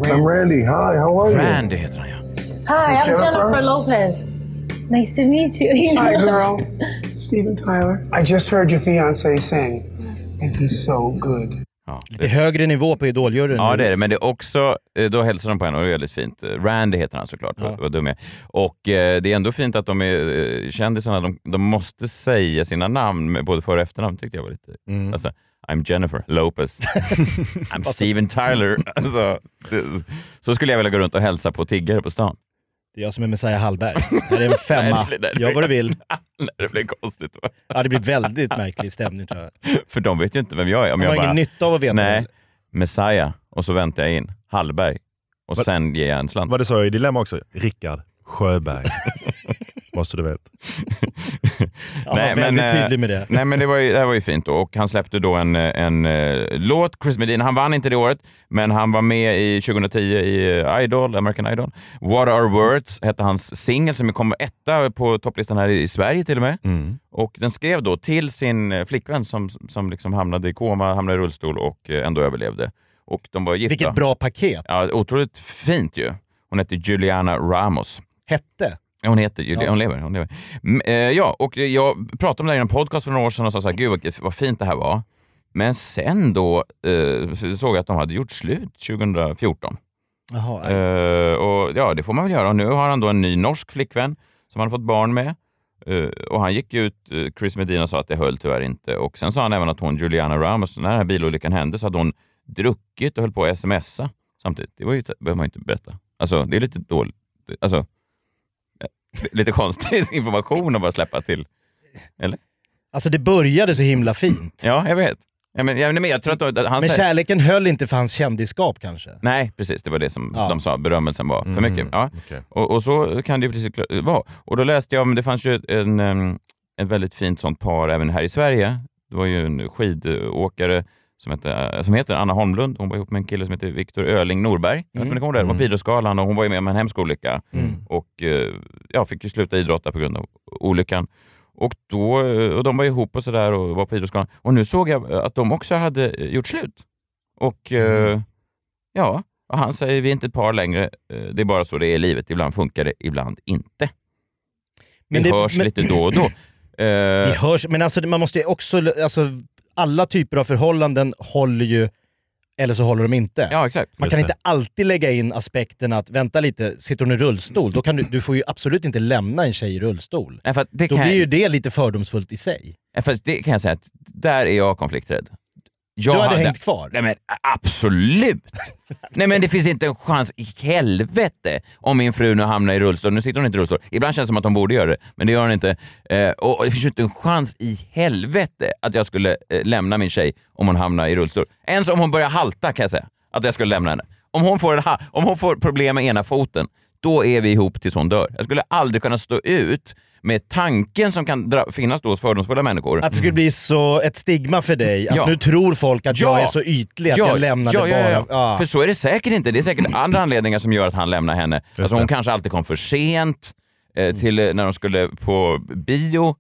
Speaker 11: I'm Randy. Hi, how are you?
Speaker 4: Randy heter han ja.
Speaker 12: Hi, I'm
Speaker 11: This is
Speaker 12: Jennifer.
Speaker 11: Jennifer
Speaker 12: Lopez. Nice to meet you.
Speaker 9: Hi, girl. Steven Tyler. I just heard your fiance sing, and he's so good.
Speaker 4: ja.
Speaker 5: Det är högre nivå på idoljuryn.
Speaker 4: Ja det är det, men det är också, eh, då hälsar de på henne och det är väldigt fint. Eh, Randy heter han såklart, vad, vad dum jag är. Och eh, det är ändå fint att de är eh, kändisarna, de, de måste säga sina namn, med både för och efternamn tyckte jag var lite...
Speaker 5: Mm.
Speaker 4: Alltså, I'm Jennifer Lopez. I'm Steven Tyler. Alltså, det, så skulle jag vilja gå runt och hälsa på tiggare på stan.
Speaker 5: Det är jag som är Messiah Hallberg. Det här är en
Speaker 4: Nej, det
Speaker 5: femma.
Speaker 4: blir- nej, det
Speaker 5: Gör vad du
Speaker 4: blir-
Speaker 5: vill.
Speaker 4: Nej, det blir konstigt. Va?
Speaker 5: Ja, det blir väldigt märklig stämning tror jag.
Speaker 4: För de vet ju inte vem jag är. Om
Speaker 5: De
Speaker 4: jag
Speaker 5: har
Speaker 4: bara,
Speaker 5: ingen nytta av att veta
Speaker 4: nej,
Speaker 5: det.
Speaker 4: Messiah, och så väntar jag in Hallberg. Och
Speaker 7: Vad-
Speaker 4: sen ger jag en slant.
Speaker 7: Var det så i Dilemma också? Rickard Sjöberg. Måste du veta.
Speaker 5: Ja, var väldigt
Speaker 4: eh,
Speaker 5: tydlig med det.
Speaker 4: Nej, men det, var ju, det här var ju fint då. och han släppte då en, eh, en eh, låt, Chris Medina. Han vann inte det året, men han var med i 2010 i eh, Idol, American Idol. What Are Words hette hans singel som kom etta på topplistan här i i Sverige till och med.
Speaker 5: Mm.
Speaker 4: Och den skrev då till sin eh, flickvän som, som liksom hamnade i koma, hamnade i rullstol och eh, ändå överlevde. Och de var gifta.
Speaker 5: Vilket bra paket.
Speaker 4: Ja, otroligt fint ju. Hon hette Juliana Ramos.
Speaker 5: Hette.
Speaker 4: Ja, Hon heter Julia, hon lever. Hon lever. Mm, eh, ja, och jag pratade om det här i en podcast för några år sedan och sa så här, gud vad, vad fint det här var. Men sen då eh, så såg jag att de hade gjort slut 2014.
Speaker 5: Jaha,
Speaker 4: Eh, och ja, det får man väl göra. Och nu har han då en ny norsk flickvän som han har fått barn med. Eh, och han gick ut, eh, Chris Medina sa att det höll tyvärr inte. Och sen sa han även att hon, Juliana Ramos, när den här bilolyckan hände så hade hon druckit och höll på att smsa samtidigt. Det var ju, behöver man ju inte berätta. Alltså, det är lite dåligt. Alltså, ja, lite konstig information att bara släppa till. Eller?
Speaker 5: Alltså det började så himla fint.
Speaker 4: Ja, jag vet. Ja, men, ja, nej, men jag tror att att han
Speaker 5: men
Speaker 4: säger-
Speaker 5: kärleken höll inte för hans kändisskap kanske.
Speaker 4: Nej, precis. Det var det som
Speaker 5: Ja.
Speaker 4: de sa. Berömmelsen var för
Speaker 5: Mm,
Speaker 4: mycket. Ja. Och, och så kan det ju precis kla- vara. Och då läste jag om, det fanns ju en, em, en väldigt fint sånt par även här i Sverige. Det var ju en skidåkare som heter, som heter Anna Holmlund. Hon var ihop med en kille som heter Viktor Öling Norberg. Jag vet inte om ni kommer ihåg det? Hon var på Idrottsgalan och hon var ju med om en hemsk olycka. Och eh, ja, fick ju sluta idrotta på grund av olyckan. Och, då, eh, och de var ihop och sådär och var på Idrottsgalan. Och nu såg jag eh, att de också hade eh, gjort slut. Och eh, ja, och han säger vi är inte ett par längre. Eh, Det är bara så det är i livet. Ibland funkar det, ibland inte.
Speaker 5: Men
Speaker 4: vi
Speaker 5: det-
Speaker 4: hörs
Speaker 5: men-
Speaker 4: lite då och då. Eh,
Speaker 5: Vi hörs, men alltså, man måste ju också... Alltså, alla typer av förhållanden håller ju, eller så håller de inte.
Speaker 4: Ja, exakt.
Speaker 5: Man
Speaker 4: Just
Speaker 5: kan
Speaker 4: det.
Speaker 5: inte alltid lägga in aspekten att, vänta lite, sitter hon i rullstol? Då kan du, du får ju absolut inte lämna en tjej i rullstol.
Speaker 4: Nej, för att det
Speaker 5: Då
Speaker 4: kan-
Speaker 5: blir ju det lite fördomsfullt i sig.
Speaker 4: Ja, Fast det kan jag säga att där är jag konflikträdd. Jag
Speaker 5: Du hade hängt kvar?
Speaker 4: Nej men absolut! Nej men det finns inte en chans i helvete om min fru nu hamnar i rullstol. Nu sitter hon inte i rullstol. Ibland känns det som att hon borde göra det, men det gör hon inte. Eh, och och det finns ju inte en chans i helvete att jag skulle eh, lämna min tjej om hon hamnar i rullstol. Ens om hon börjar halta kan jag säga att jag skulle lämna henne. Om hon får, en ha- om hon får problem med ena foten, då är vi ihop tills hon dör. Jag skulle aldrig kunna stå ut med tanken som kan dra- finnas då hos fördomsfulla människor.
Speaker 5: Att det skulle bli så ett stigma för dig, att
Speaker 4: Mm. Ja.
Speaker 5: nu tror folk att jag är så ytlig att jag lämnade
Speaker 4: ja, ja,
Speaker 5: bara...
Speaker 4: ja.
Speaker 5: Ja.
Speaker 4: För så är det säkert inte. Det är säkert andra anledningar som gör att han lämnar henne. Alltså, hon
Speaker 5: det.
Speaker 4: kanske alltid kom för sent eh, till eh, när de skulle på bio.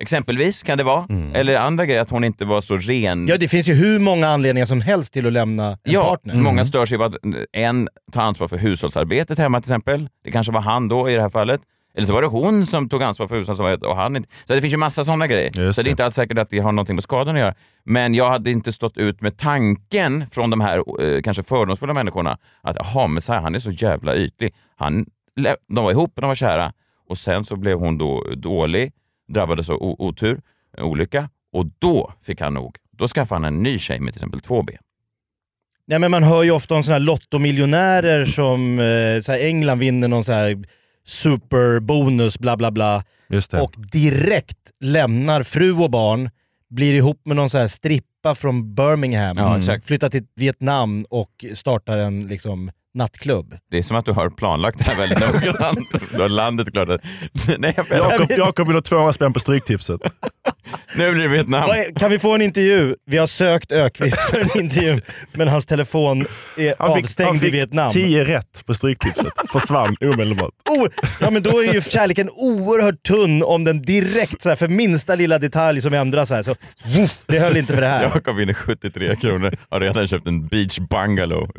Speaker 4: Exempelvis kan det vara.
Speaker 5: Mm.
Speaker 4: Eller andra grejer, att hon inte var så ren.
Speaker 5: Ja, det finns ju hur många anledningar som helst till att lämna en
Speaker 4: Ja, Mm.
Speaker 5: partner. Mm.
Speaker 4: många stör sig på att en tar ansvar för hushållsarbetet hemma till exempel. Det kanske var han då i det här fallet. Eller så var det hon som tog ansvar för hushållsarbetet och han inte. Så det finns ju massa sådana grejer. så det är inte alls säkert att det har någonting med skadan att göra. Men jag hade inte stått ut med tanken från de här eh, kanske fördomsfulla människorna att jaha, men så här, han är så jävla ytlig. Han, lä- de var ihop, de var kära och sen så blev hon då dålig, drabbades av o- otur, en olycka och då fick han nog. Då skaffade han en ny tjej med till exempel två ben.
Speaker 5: Nej, men man hör ju ofta om såna här lottomiljonärer som eh, så här England vinner någon så här superbonus bla bla bla. Och direkt lämnar fru och barn, blir ihop med någon så här strippa från Birmingham, mm,
Speaker 4: Ja, exakt.
Speaker 5: flyttar till Vietnam och startar en liksom, nattklubb.
Speaker 4: Det är som att du har planlagt det här väldigt noggrant. Du har landet klart. att- Nej, jag
Speaker 7: Jakob, Jakob vill ha 200 spänn på stryktipset.
Speaker 4: Nu blir det Vietnam.
Speaker 5: Vad är- Kan vi få en intervju? Vi har sökt Ökvist för en intervju, men hans telefon är avstängd
Speaker 7: han fick
Speaker 5: i Vietnam.
Speaker 7: 10 rätt på stryktipset. Försvann omedelbart.
Speaker 5: Oh, ja men då är ju kärleken oerhört tunn om den direkt, så här, för minsta lilla detalj som ändras här, så woof, det höll inte för det här.
Speaker 4: Jag kom in i 73 kronor har redan köpt en beach bungalow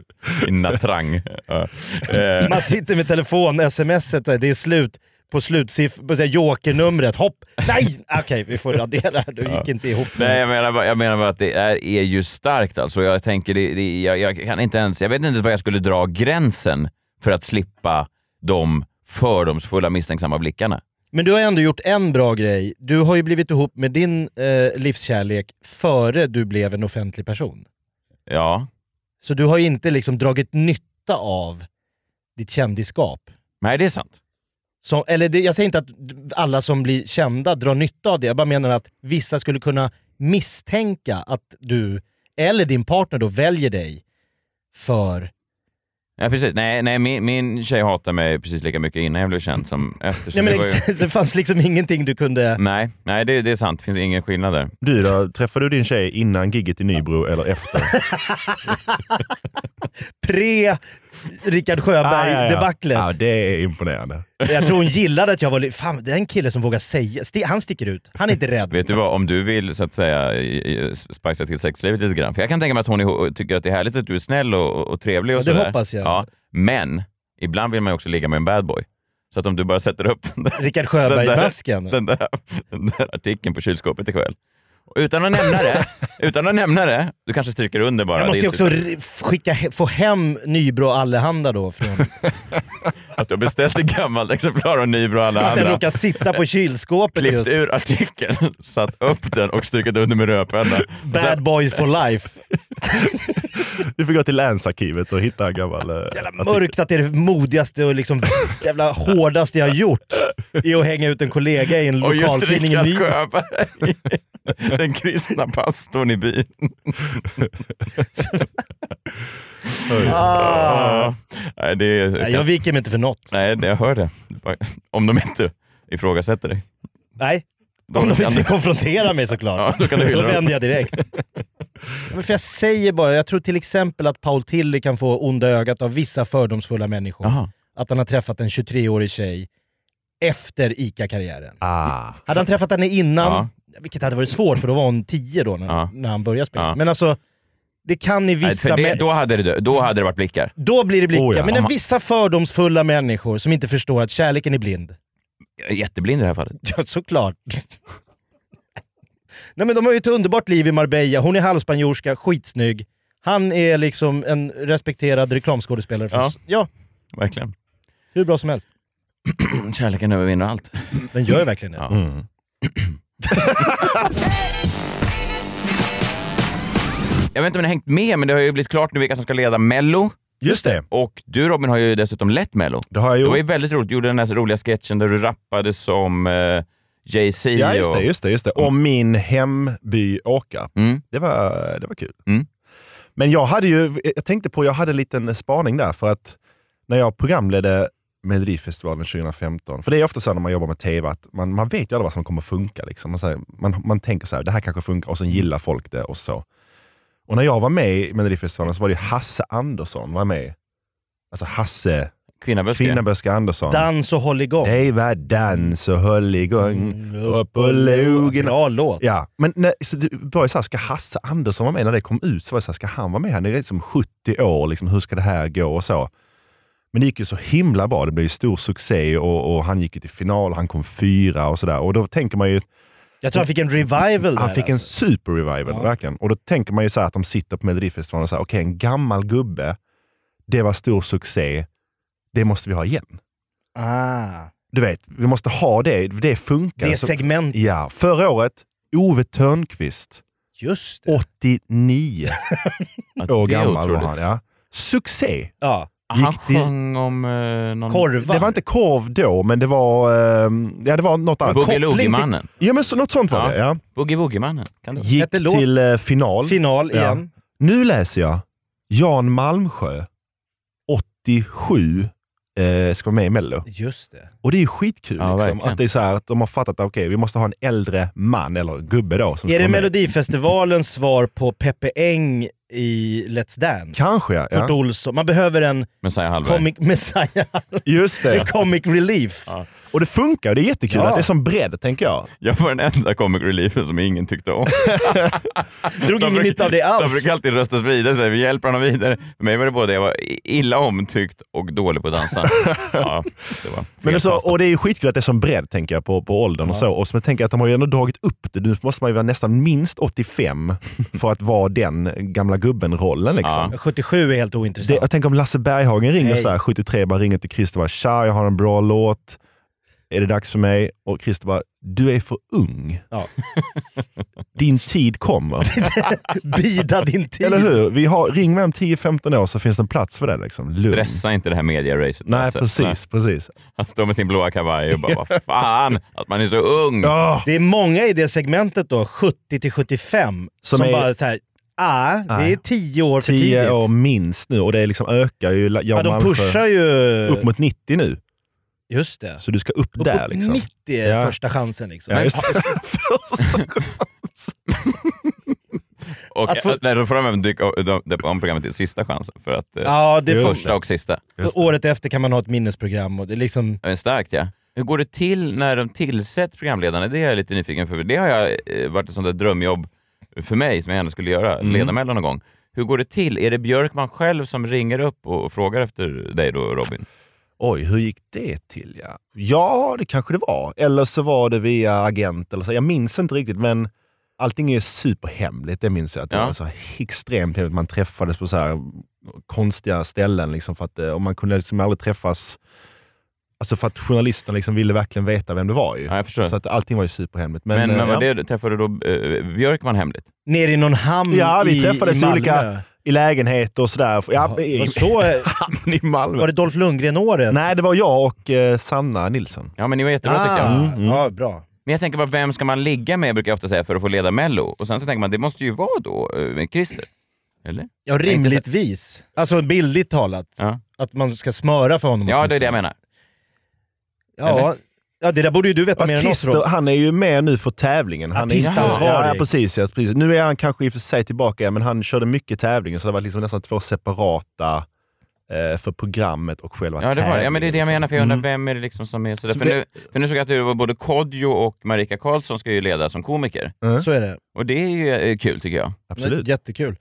Speaker 4: i Natrang. Ja. Eh,
Speaker 5: Man sitter med telefon, smset, så här, det är slut på slutsiff- på så här jokernumret. Hopp! Nej! Okej, vi får radera det här. Du gick inte ihop.
Speaker 4: Nej, jag menar, bara- jag menar bara att det är, är ju starkt alltså. Jag tänker, det, det, jag, jag kan inte ens, jag vet inte var jag skulle dra gränsen för att slippa de fördomsfulla misstänksamma blickarna.
Speaker 5: Men du har ändå gjort en bra grej. Du har ju blivit ihop med din eh, livskärlek före du blev en offentlig person.
Speaker 4: Ja.
Speaker 5: Så du har ju inte liksom dragit nytta av ditt kändisskap.
Speaker 4: Nej, det är sant.
Speaker 5: Som, eller det, jag säger inte att alla som blir kända drar nytta av det. Jag bara menar att vissa skulle kunna misstänka att du, eller din partner då, väljer dig för...
Speaker 4: Ja, precis. Nej, nej min, min tjej hatade mig precis lika mycket innan jag blev känd som efter. så
Speaker 5: Nej, men
Speaker 4: det var ju-
Speaker 5: det, det fanns liksom ingenting du kunde...
Speaker 4: Nej, nej det, det är sant. Det finns ingen skillnad där.
Speaker 7: Du då, träffade du din tjej innan gigget i Nybro eller efter?
Speaker 5: Pre Rickard Sjöberg-debaclet.
Speaker 7: Ja, det är imponerande.
Speaker 5: Jag tror hon gillade att jag var... li- Fan, det är en kille som vågar säga... Sti- Han sticker ut. Han är inte rädd.
Speaker 4: Vet du vad, om du vill så att säga i- i- spicea till sexlivet lite grann. För jag kan tänka mig att hon är, tycker att det är härligt att du är snäll och, och trevlig och
Speaker 5: Ja, det
Speaker 4: sådär.
Speaker 5: hoppas jag.
Speaker 4: Ja, men ibland vill man ju också ligga med en bad boy. Så att om du bara sätter upp den där,
Speaker 5: Rickard Sjöberg-masken.
Speaker 4: den, där, den där artikeln på kylskåpet ikväll. Och Utan att nämna det, utan att nämna det, du kanske stryker under bara.
Speaker 5: Jag måste
Speaker 4: Det
Speaker 5: ju
Speaker 4: är
Speaker 5: också
Speaker 4: inte-
Speaker 5: r- skicka, he- få hem Nybro Allehanda då. Från,
Speaker 4: Att du har beställt ett gammalt exemplar av Nybro och alla
Speaker 5: att den
Speaker 4: andra.
Speaker 5: råkar sitta på kylskåpet
Speaker 4: Klippt
Speaker 5: just.
Speaker 4: ur artikeln, satt upp den och strukit under med rödpenna.
Speaker 5: Bad boys for life.
Speaker 7: Du får gå till länsarkivet och hitta en gammal... eh, artikel.
Speaker 5: Mörkt att det är det modigaste och liksom jävla hårdaste jag har gjort är att hänga ut en kollega i en
Speaker 4: Och just
Speaker 5: lokaltidning i
Speaker 4: Rickard
Speaker 5: Nybro.
Speaker 4: Sjöberg, den kristna pastorn i byn.
Speaker 5: Ah.
Speaker 4: Nej, det är,
Speaker 5: Nej, jag viker mig inte för något.
Speaker 4: Nej, det- jag hör det. Om de inte ifrågasätter dig.
Speaker 5: Nej.
Speaker 4: Då
Speaker 5: Om de
Speaker 4: kan
Speaker 5: inte
Speaker 4: du-
Speaker 5: konfronterar mig såklart.
Speaker 4: Ja, då kan du hylla dem.
Speaker 5: vänder jag direkt. Men för jag säger bara, jag tror till exempel att Paul Tilly kan få onda ögat av vissa fördomsfulla människor. Att han har träffat en 23-årig tjej efter ICA-karriären.
Speaker 7: Ah.
Speaker 5: Hade han träffat henne innan,
Speaker 7: Ja.
Speaker 5: vilket hade varit svårt för då var hon 10 då när,
Speaker 4: Ja.
Speaker 5: när han började spela.
Speaker 4: Ja.
Speaker 5: Men alltså, det kan i
Speaker 4: Nej,
Speaker 5: vissa...
Speaker 4: för det,
Speaker 5: mä-
Speaker 4: då, hade det, då hade det varit blickar.
Speaker 5: då blir det blickar.
Speaker 4: Oh ja.
Speaker 5: Men
Speaker 4: Om
Speaker 5: när
Speaker 4: han-
Speaker 5: vissa fördomsfulla människor som inte förstår att kärleken är blind.
Speaker 4: Jag är jätteblind i det här fallet.
Speaker 5: Ja, såklart. Nej men de har ju ett underbart liv i Marbella. Hon är halvspanjorska, skitsnygg. Han är liksom en respekterad reklamskådespelare. För
Speaker 4: Ja.
Speaker 5: oss. ja,
Speaker 4: Verkligen.
Speaker 5: hur bra som helst.
Speaker 4: Kärleken övervinner allt.
Speaker 5: Den gör ju verkligen det.
Speaker 4: Ja. Jag vet inte om ni har hängt med, men det har ju blivit klart nu vilka som ska leda Mello.
Speaker 7: Just det.
Speaker 4: Och du Robin har ju dessutom lett Mello.
Speaker 7: Det har jag
Speaker 4: Det
Speaker 7: gjort.
Speaker 4: var ju väldigt roligt. Du gjorde den här roliga sketchen där du rappade som eh, Jay-Z.
Speaker 7: Ja, just
Speaker 4: och-
Speaker 7: det. Just det, just det. Och Mm. min hemby Åkarp. Det, var, det var kul. Men jag hade ju, jag tänkte på, jag hade en liten spaning där för att när jag programledde Melodifestivalen 2015, för det är ofta så när man jobbar med TV att man, man vet ju aldrig vad som kommer funka. Liksom. Man, så här, man, man tänker så här, det här kanske funkar och sen gillar folk det och så. Och när jag var med i Melodifestivalen så var det ju Hasse Andersson var med. Alltså Hasse
Speaker 4: Kvinnaböske.
Speaker 7: Kvinnaböske Andersson.
Speaker 5: Dans och håll igång.
Speaker 7: Det var dans och höll igång. Mm, Upp och logen.
Speaker 5: Bra
Speaker 7: Ja, men när, så det var ju såhär, ska Hasse Andersson vara med? När det kom ut så var det såhär, ska han vara med? Han är liksom 70 år, liksom, hur ska det här gå och så. Men det gick ju så himla bra. Det blev ju stor succé och, och han gick ju till final. Han kom fyra och sådär. Och då tänker man ju...
Speaker 5: Jag tror han fick en revival
Speaker 7: Han
Speaker 5: där, alltså.
Speaker 7: fick en super-revival,
Speaker 5: Ja.
Speaker 7: verkligen. Och då tänker man ju så här att de sitter på Melodifestivalen och säger okej, en gammal gubbe, det var stor succé, det måste vi ha igen.
Speaker 5: Ah.
Speaker 7: Du vet, vi måste ha det, det funkar.
Speaker 5: Det
Speaker 7: Så-
Speaker 5: segmentet.
Speaker 7: Ja, förra året, Ove Törnqvist.
Speaker 5: Just
Speaker 7: 89
Speaker 4: Ja,
Speaker 7: år
Speaker 4: det är
Speaker 7: gammal var
Speaker 4: otroligt.
Speaker 7: han. Ja. Succé!
Speaker 5: Ja.
Speaker 4: Han
Speaker 7: Gick till-
Speaker 4: sjöng om eh, någon...
Speaker 7: Det var inte korv då, men det var, ehm, ja, det var något annat.
Speaker 4: Boogie
Speaker 7: Koppling till-
Speaker 4: Loogie-mannen.
Speaker 7: Ja, men så, något sånt var det. Ja.
Speaker 4: Boogie-woogie-mannen. Kan det vara?
Speaker 7: Gick till eh, final.
Speaker 5: Final igen.
Speaker 7: Nu läser jag Jan Malmsjö, 87, eh, ska vara med i Mello.
Speaker 5: Just det.
Speaker 7: Och det är ju skitkul
Speaker 5: Ja,
Speaker 7: liksom,
Speaker 5: verkligen.
Speaker 7: att det är så här, att de har fattat att okej, vi måste ha en äldre man, eller gubbe då, som ska
Speaker 5: Är det
Speaker 7: vara med.
Speaker 5: Melodifestivalens svar på Peppe Eng i Let's Dance?
Speaker 7: Kanske, ja.
Speaker 5: Kurt Olsson. Man behöver en
Speaker 4: Messiah Hallberg.
Speaker 5: comic messiah.
Speaker 7: Just det.
Speaker 5: en comic relief.
Speaker 7: Och det funkar, och det är jättekul
Speaker 5: Ja.
Speaker 7: att det är som bredd, tänker jag.
Speaker 4: Jag var den enda comic reliefen som ingen tyckte om.
Speaker 5: Drog
Speaker 4: De
Speaker 5: ingen
Speaker 4: brukar-
Speaker 5: nytta av det
Speaker 4: De
Speaker 5: alls.
Speaker 4: brukar alltid röstas vidare, så här, vi hjälper honom vidare. För mig var det både jag var i- illa omtyckt och dålig på att dansa. ja, det var
Speaker 7: Men det är så, och det är ju skitkul att det är som bredd tänker jag på, på åldern och så. Och så tänker jag att de har ju ändå dragit upp det. Nu måste man ju vara nästan minst 85 för att vara den gamla gubben-rollen. Liksom.
Speaker 5: 77 är helt
Speaker 7: Det,
Speaker 5: ointressant.
Speaker 7: jag tänker om Lasse Berghagen ringer
Speaker 5: Nej.
Speaker 7: så här, 73, bara ringer till Christer och bara “Tja, jag har en bra låt. Är det dags för mig?” Och Christer bara “Du är för ung.
Speaker 5: Ja.
Speaker 7: Din tid kommer.”
Speaker 5: Bida din tid.
Speaker 7: Eller hur? Vi har, ring mig om 10-15 år så finns det en plats för det. Liksom. Lugn.
Speaker 4: Stressa inte det här media-racet.
Speaker 7: Nej,
Speaker 5: Alltså,
Speaker 4: Lasse.
Speaker 7: precis, precis.
Speaker 4: Han står med sin blåa kavaj och bara, vad fan att man är så ung.
Speaker 5: Det är många i det segmentet då, 70 till 75, som,
Speaker 7: Som är-
Speaker 5: bara såhär, ah, det är 10 år för tidigt.
Speaker 7: 10 år minst nu och det liksom ökar ju. Jan
Speaker 5: Ja, de
Speaker 7: Malmsjö
Speaker 5: pushar ju-
Speaker 7: Upp mot 90 nu.
Speaker 5: Just det.
Speaker 7: Så du ska Eh, upp
Speaker 5: Uppåt
Speaker 7: där liksom.
Speaker 5: 90 är
Speaker 7: Ja.
Speaker 5: första chansen liksom.
Speaker 7: Ja, just det.
Speaker 4: Och
Speaker 5: Att få-
Speaker 4: att- nej, då får de även dyka o- de- döpa om programmet till Sista chansen. För att, eh,
Speaker 5: Ja, det får-
Speaker 4: första och sista.
Speaker 5: Året efter kan man ha ett minnesprogram och det är liksom...
Speaker 4: Ja, det är Starkt ja. Hur går det till när de tillsätts programledarna? Det är jag lite nyfiken för. Det har jag eh, varit ett sånt där drömjobb för mig som jag gärna skulle göra,
Speaker 7: Mm.
Speaker 4: leda Mellan någon gång. Hur går det till? Är det Björkman själv som ringer upp och och frågar efter dig då Robin?
Speaker 7: Oj, hur gick det till? Ja. ja, det kanske det var. Eller så var det via agent. Eller så. Jag minns inte riktigt, men allting är superhemligt. Det minns jag. Att det
Speaker 4: Ja.
Speaker 7: var så här extremt hemligt. Man träffades på så här konstiga ställen. Liksom, för att, eh, och man kunde liksom aldrig träffas Alltså för att journalisterna liksom ville verkligen veta vem det var. Ju.
Speaker 4: Ja, jag förstår.
Speaker 7: Så att allting var ju superhemligt.
Speaker 4: Men, men,
Speaker 7: eh,
Speaker 4: var
Speaker 7: ja.
Speaker 4: det, träffade du då eh, Björkman hemligt?
Speaker 5: Nere i någon hamn
Speaker 7: Ja, vi
Speaker 5: i,
Speaker 7: träffades
Speaker 5: i
Speaker 7: i
Speaker 5: Malmö.
Speaker 7: olika i lägenheter och sådär. Ja, i,
Speaker 5: och så, eh,
Speaker 7: hamn i Malmö.
Speaker 5: Var det Dolph Lundgren-året?
Speaker 7: Nej, det var jag och eh, Sanna Nilsson.
Speaker 4: Ja, men ni var jättebra tycker jag.
Speaker 7: Mm,
Speaker 4: Mm.
Speaker 5: Ah, Ja, bra.
Speaker 4: Men jag tänker bara, vem ska man ligga med brukar jag ofta säga för att få leda Mello? Och sen så tänker man, det måste ju vara då eh, med Christer. Eller?
Speaker 5: Ja, rimligtvis. Alltså bildligt talat. Att man ska smöra för honom.
Speaker 4: Ja, det är
Speaker 5: åtminstone.
Speaker 4: det jag menar.
Speaker 5: Ja,
Speaker 7: Eller?
Speaker 5: ja det där borde ju du veta
Speaker 7: Fast
Speaker 5: mer än oss
Speaker 7: Christer,
Speaker 5: Rob.
Speaker 7: han är ju med nu för tävlingen. Han är-
Speaker 5: Artistansvarig.
Speaker 7: Ja, ja, precis, ja, precis. Nu är han kanske i och för sig tillbaka, igen, men han körde mycket tävlingen, så det var liksom nästan två separata eh, för programmet och själva
Speaker 4: Ja, det
Speaker 7: tävlingen.
Speaker 4: var, ja, men det är det jag menar, för jag undrar vem är det liksom som är sådär. för, nu, för nu såg jag att det var både Kodjo och Marika Karlsson ska ju leda som komiker.
Speaker 5: Så är det.
Speaker 4: Och det är ju eh, kul tycker jag. Eh,
Speaker 5: Absolut. Jättekul.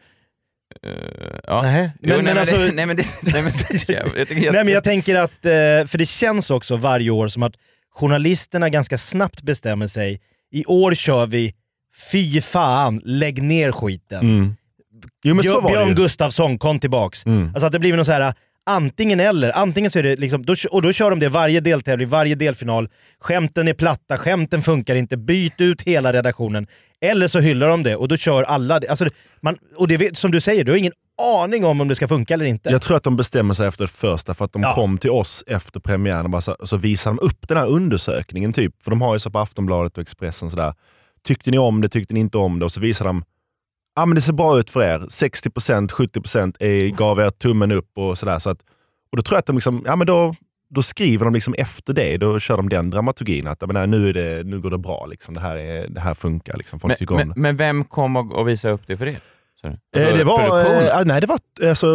Speaker 4: Ja.
Speaker 5: Nähä.
Speaker 4: Jo, nej,
Speaker 5: Men- men
Speaker 4: men det-
Speaker 5: alltså-
Speaker 4: nej, men det- nej, men det- jag- jag tycker jätte-
Speaker 5: Nej men jag tänker att, eh, för det känns också varje år som att journalisterna ganska snabbt bestämmer sig. I år kör vi, fy fan, lägg ner skiten.
Speaker 7: Mm. Jo, men
Speaker 5: Björ-
Speaker 7: så var det
Speaker 5: Björn
Speaker 7: ju. Mm.
Speaker 5: Gustafsson, kom tillbaks. Alltså att det blir någon så här antingen eller. Antingen så är det liksom, då, kö- och då kör de det varje deltävling, varje delfinal. Skämten är platta, skämten funkar inte, byt ut hela redaktionen. Eller så hyllar de det och då kör alla det. Alltså, det- man, och det, vet- som du säger, du har ingen aning om om det ska funka eller inte.
Speaker 7: Jag tror att de bestämmer sig efter det första, för att de kom till oss efter premiären och bara så, så visade de upp den här undersökningen. typ. För de har ju så på Aftonbladet och Expressen sådär. Tyckte ni om det? Tyckte ni inte om det? Och så visar de ah, men det ser bra ut för er. 60%, 70% är, gav er tummen upp och sådär. Så att, och då tror jag att de liksom, ja, men då, då skriver de liksom efter det. Då kör de den dramaturgin att ja, men nej, nu, är det, nu går det bra. Liksom. Det, här är, det här funkar. Liksom. Folk
Speaker 4: Men,
Speaker 7: tycker om
Speaker 4: men,
Speaker 7: det.
Speaker 4: men vem kom och, och visade upp det för er? Så-
Speaker 7: Eh,
Speaker 4: alltså,
Speaker 7: det var...
Speaker 4: produktionen?
Speaker 7: Eh, ah, nej, det var... Alltså,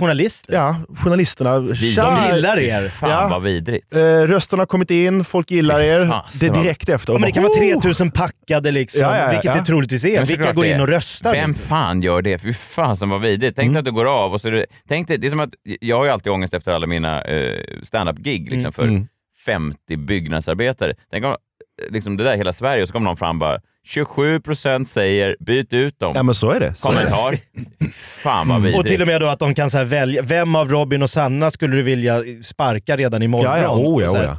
Speaker 5: Journalister?
Speaker 7: Ja, journalisterna.
Speaker 4: Vi-
Speaker 7: Tja!
Speaker 4: de gillar er. Fan, vad vidrigt.
Speaker 7: Eh, rösterna har kommit in, folk gillar er. det
Speaker 4: fasen,
Speaker 7: är
Speaker 4: vad-
Speaker 7: direkt efter.
Speaker 5: Ja, men det kan
Speaker 7: Bara,
Speaker 5: vara
Speaker 7: "Oh!"
Speaker 5: 3000 packade liksom,
Speaker 7: Ja, ja, ja,
Speaker 5: vilket
Speaker 7: ja.
Speaker 5: det troligtvis är.
Speaker 4: Men
Speaker 5: Vilka
Speaker 4: såklart
Speaker 5: går
Speaker 4: det.
Speaker 5: in och Mm. röstar?
Speaker 4: Vem
Speaker 5: liksom?
Speaker 4: fan gör det? Fy fasen vad vidrigt. Tänk dig att du går av och så... är du- Tänk dig, det är som att, jag har ju alltid ångest efter alla mina eh, standup-gig liksom,
Speaker 5: Mm.
Speaker 4: för
Speaker 5: Mm.
Speaker 4: 50 byggnadsarbetare. Tänk om eh, liksom, det där hela Sverige och så kommer någon fram bara 27 procent säger byt ut dem.
Speaker 7: Ja, men så är det. Så är det.
Speaker 4: Kommentar. Fy fan vad vidrigt.
Speaker 5: Mm. Och till och med då att de kan så här välja, vem av Robin och Sanna skulle du vilja sparka redan imorgon?
Speaker 7: Ja, ja, oh, ja,
Speaker 5: Så
Speaker 7: oh,
Speaker 5: här,
Speaker 7: ja.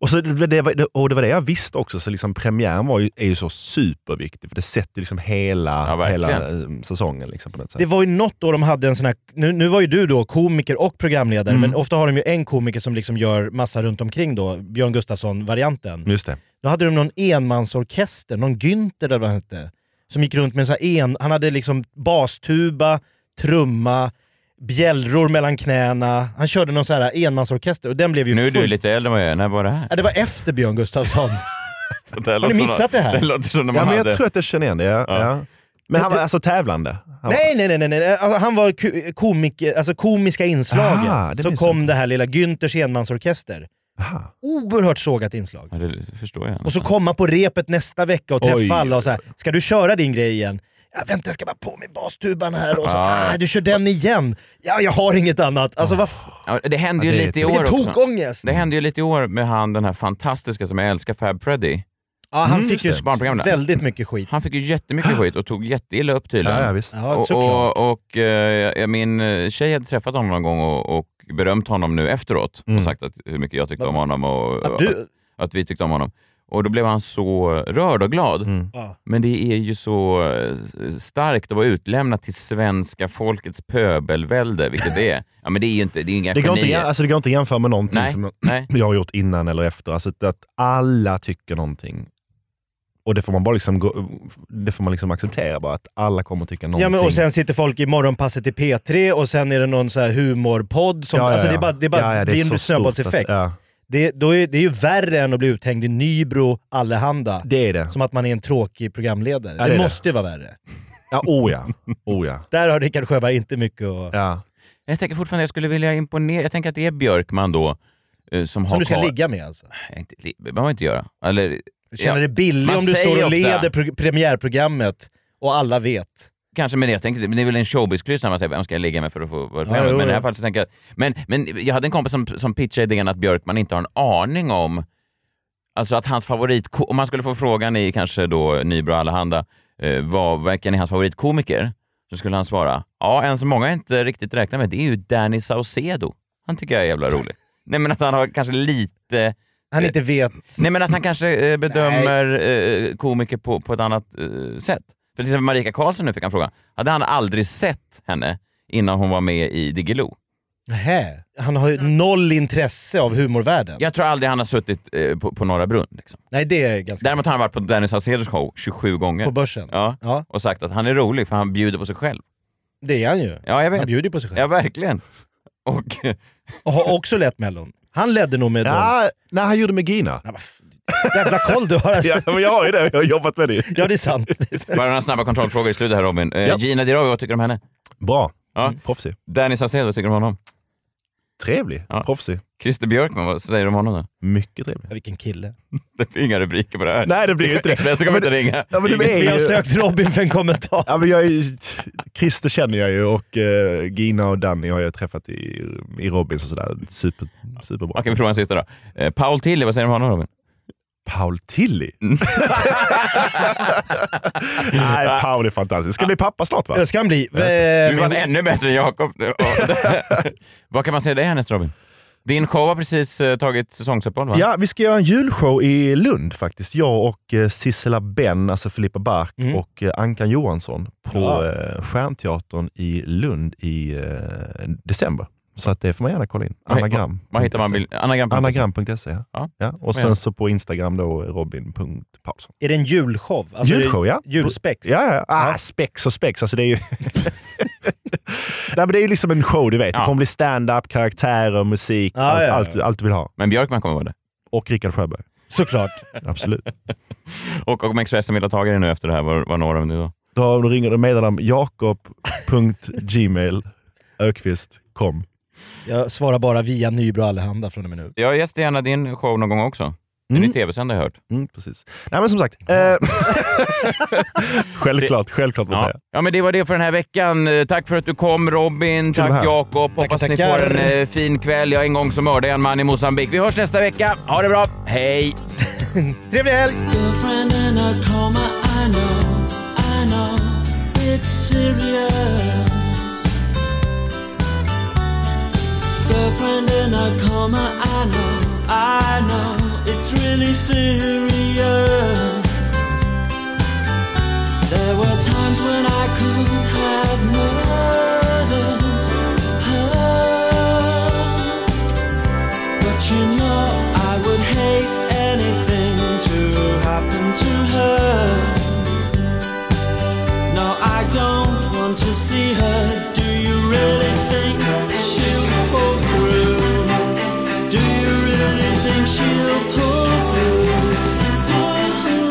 Speaker 7: Och, så, det, det, var- det- och det var det jag visste också, så liksom premiären var ju, är ju så superviktig för det sätter liksom hela, hela eh, säsongen. Liksom, på något sätt.
Speaker 5: Det var ju något då de hade en sån här, nu, nu var ju du då komiker och programledare,
Speaker 7: Mm.
Speaker 5: men ofta har de ju en komiker som liksom gör massa runt omkring då, Björn Gustafsson-varianten.
Speaker 7: Just det.
Speaker 5: Då hade de någon enmansorkester, någon Günther eller vad han hette, som gick runt med en sån här en, han hade liksom bastuba, trumma, bjällror mellan knäna. Han körde någon sån här enmansorkester och den blev ju
Speaker 4: Nu är du
Speaker 5: fullst-
Speaker 4: lite äldre än vad jag är. När var det här?
Speaker 5: Ja, det var efter Björn Gustafsson.
Speaker 4: Det här
Speaker 5: Har ni
Speaker 4: låter som-
Speaker 5: missat det här?
Speaker 4: Det låter som när man
Speaker 7: Ja, men
Speaker 4: hade...
Speaker 7: jag tror att jag känner igen det. Ja, ja. Men han var alltså tävlande? Han var-
Speaker 5: Nej, nej, nej, nej, nej. Alltså, han var ku- komik, alltså komiska inslaget.
Speaker 7: Aha, det
Speaker 5: så
Speaker 7: missade
Speaker 5: kom det här lilla Günthers enmansorkester. Oerhört sågat inslag.
Speaker 4: Ja, det förstår jag.
Speaker 5: Och så komma på repet nästa vecka och träffa
Speaker 4: Oj.
Speaker 5: alla och så här. ska du köra din grej igen? Ja, vänta, jag ska bara på mig bastuban här och så,
Speaker 4: Ah.
Speaker 5: ah, du kör den igen. Ja, jag har inget annat. Alltså, vad
Speaker 7: Ah.
Speaker 5: f-
Speaker 4: Ja, det hände ju
Speaker 5: Ja, det är
Speaker 4: lite i
Speaker 5: ett-
Speaker 4: år
Speaker 5: Vilken
Speaker 4: också.
Speaker 5: tokångest!
Speaker 4: Det hände ju lite i år med han den här fantastiska som jag älskar, Fab Freddy.
Speaker 5: Ja, han
Speaker 4: Mm,
Speaker 5: fick ju
Speaker 4: just det. Barnprogrammet.
Speaker 5: väldigt mycket skit.
Speaker 4: Han fick ju jättemycket skit och tog jätteilla upp tydligen.
Speaker 5: Ja, ja, visst. Ja,
Speaker 4: och,
Speaker 5: såklart.
Speaker 4: och, och, eh, jag- min eh, tjej hade träffat honom någon gång och, och berömt honom nu efteråt
Speaker 7: Mm.
Speaker 4: och sagt att hur mycket jag tyckte om honom och
Speaker 5: Att du-
Speaker 4: att, att vi tyckte om honom. Och då blev han så rörd och glad.
Speaker 7: Mm.
Speaker 5: Ja.
Speaker 4: Men det är ju så eh, starkt att vara utlämnad till svenska folkets pöbelvälde, vilket det är. Ja, men det är ju inte, det är inga
Speaker 7: Det går, inte,
Speaker 4: genier.
Speaker 7: jä- alltså det går inte att jämföra med någonting
Speaker 4: Nej,
Speaker 7: som
Speaker 4: nej.
Speaker 7: jag har gjort innan eller efter. Alltså att alla tycker någonting. Och det får man bara liksom gå, det får man liksom acceptera, bara att alla kommer att tycka någonting.
Speaker 5: Ja, men och sen sitter folk i morgonpasset i P3 och sen är det någon så här humorpodd. Som,
Speaker 7: Ja, ja,
Speaker 5: alltså, det är
Speaker 7: ja.
Speaker 5: bara, det är bara
Speaker 7: Ja, ja, det är
Speaker 5: blir en
Speaker 7: så stort,
Speaker 5: snöbollseffekt.
Speaker 7: alltså, ja.
Speaker 5: det, då är, det är ju värre än att bli uthängd i Nybro allehanda.
Speaker 7: Det är det.
Speaker 5: Som att man är en tråkig programledare.
Speaker 7: Ja,
Speaker 5: det,
Speaker 7: det är
Speaker 5: måste ju vara värre.
Speaker 7: Ja, oh ja. Oh ja.
Speaker 5: Där har Rickard Sjöberg inte mycket att...
Speaker 7: Ja.
Speaker 4: Jag tänker fortfarande jag skulle vilja imponera. Jag tänker att det är Björkman då eh, som, har
Speaker 5: Som du ska
Speaker 4: kvar-
Speaker 5: ligga med alltså.
Speaker 4: Nej, Inte, li- det behöver man inte göra. Eller,
Speaker 5: Känner dig billig
Speaker 4: man
Speaker 5: om du
Speaker 4: säger
Speaker 5: står och
Speaker 4: ofta-
Speaker 5: leder pro- premiärprogrammet och alla vet.
Speaker 4: Kanske, men jag tänkte, men det är väl en showbiz-klyscha när man säger vem ska jag ligga med för att få vara
Speaker 5: jo,
Speaker 4: ja, Men i
Speaker 5: jo.
Speaker 4: det här fallet så tänker jag... Men, men jag hade en kompis som, som pitchade idén att Björkman inte har en aning om... Alltså att hans favorit... Om man skulle få frågan i kanske då Nybro Allehanda, eh, vad, vilken är hans favoritkomiker? Så skulle han svara, ja en som många inte riktigt räknar med det är ju Danny Saucedo. Han tycker jag är jävla rolig. Nej men att han har kanske lite...
Speaker 7: Eh.
Speaker 5: Han inte vet.
Speaker 4: Nej men att han kanske eh, bedömer eh, komiker på, på ett annat eh, sätt. För till exempel Marika Karlsson nu fick han frågan. Hade han aldrig sett henne innan hon var med i Diggiloo?
Speaker 5: Nähä. Han har ju noll intresse av humorvärlden.
Speaker 4: Jag tror aldrig han har suttit eh, på, på Norra Brunn. Liksom.
Speaker 5: Nej, det är ganska...
Speaker 4: Däremot har han varit på Dennis Saucedos show 27 gånger.
Speaker 5: På Börsen?
Speaker 4: Ja. Och sagt att han är rolig för han bjuder på sig själv.
Speaker 5: Det är han ju.
Speaker 4: Ja, jag vet.
Speaker 5: Han bjuder på sig själv.
Speaker 4: Ja, verkligen. Och,
Speaker 5: Och har också lett Mellon. Han ledde nog med
Speaker 7: Ja, nej, han gjorde med Gina.
Speaker 5: Jävla koll du har. Alltså.
Speaker 7: ja, men jag har ju det, jag har jobbat med det.
Speaker 5: Ja, det är sant.
Speaker 4: Bara några snabba kontrollfrågor i slutet här Robin. Eh,
Speaker 7: Ja.
Speaker 4: Gina Dirawi, vad tycker du om henne?
Speaker 7: Bra.
Speaker 4: Ja.
Speaker 7: Proffsig.
Speaker 4: Danny Saucedo, vad tycker du om honom?
Speaker 7: Trevlig. Proffsig.
Speaker 4: Christer Björkman, vad säger du om honom då?
Speaker 7: Mycket trevlig.
Speaker 5: Vilken kille.
Speaker 4: Det blir inga rubriker på det här.
Speaker 7: Nej, det blir ju inte det.
Speaker 4: Expressen kommer
Speaker 7: Men-
Speaker 4: inte ringa.
Speaker 7: Ja, men det är
Speaker 5: Vi har
Speaker 7: ju-
Speaker 5: sökt Robin för en kommentar.
Speaker 7: Ja, men jag är ju, Christer känner jag ju och eh, Gina och Danny har jag träffat i, i Robins och sådär. Super, superbra.
Speaker 4: Okej, vi provar en sista då. Eh, Paul Tilly, vad säger du om honom Robin?
Speaker 7: Paul Tilly? Nej, Paul är fantastisk. Ska bli pappa snart va?
Speaker 5: Jag ska han bli.
Speaker 7: Ja, just det.
Speaker 4: Du var ännu bättre än Jakob. vad kan man säga dig härnäst Robin? Din show har precis eh, tagit säsongsuppehåll va?
Speaker 7: Ja, vi ska göra en julshow i Lund faktiskt. Jag och eh, Sissela Benn, alltså Filippa Bark och eh, Ankan Johansson på
Speaker 5: Ja.
Speaker 7: eh, Stjärnteatern i Lund i eh, december. Så att det får man gärna kolla in.
Speaker 4: Vad-
Speaker 7: Anagram.
Speaker 4: vad hittar man bild- anagram.se?
Speaker 7: Anagram.se. Ja.
Speaker 4: Ja.
Speaker 7: Ja.
Speaker 4: Men-
Speaker 7: Och sen så på Instagram då robin.paulsson.
Speaker 5: eh, Är det en julshow? Alltså,
Speaker 7: Julshow, ja.
Speaker 5: Julspex?
Speaker 7: Ja, ja. Ah, spex och spex. Alltså det är ju... Nej, men det är ju liksom en show, du vet. Det kommer bli stand-up, karaktärer, musik,
Speaker 5: Ja,
Speaker 7: allt,
Speaker 5: ja, ja.
Speaker 7: Allt, allt du vill ha.
Speaker 4: Men Björkman kommer vara det.
Speaker 7: Och Rickard Sjöberg.
Speaker 5: Såklart.
Speaker 7: Absolut.
Speaker 4: Och om Expressen vill ha tag i dig nu efter det här, var, var når de dig då?
Speaker 7: Då ringer du meddelar jakob.gmail Ökvist kom.
Speaker 5: Jag svarar bara via Nybro Allehanda från och med nu.
Speaker 4: Jag gästar gärna din show någon gång också. Den är tv-sänd har jag hört.
Speaker 7: Mm, precis. Nej men som sagt. Eh, självklart, självklart måste jag
Speaker 4: Ja.
Speaker 7: säga.
Speaker 4: ja, men det var det för den här veckan. Eh, Tack för att du kom Robin,
Speaker 7: att vara
Speaker 4: tack
Speaker 7: här.
Speaker 4: Jakob. Hoppas ni
Speaker 5: tackar.
Speaker 4: får en eh, fin kväll. Jag en gång så mördade jag en man i Mozambique. Vi hörs nästa vecka. Ha det bra. Hej!
Speaker 5: Trevlig helg!
Speaker 14: girlfriend in a coma. I know, I know, it's serious. Girlfriend in a coma. I know, I know, it's really serious. There were times when I could have murdered her. But you know I would hate anything to happen to her. No, I don't want to see her. Do you really think she'll pull through? Do you really think she'll pull through? Through.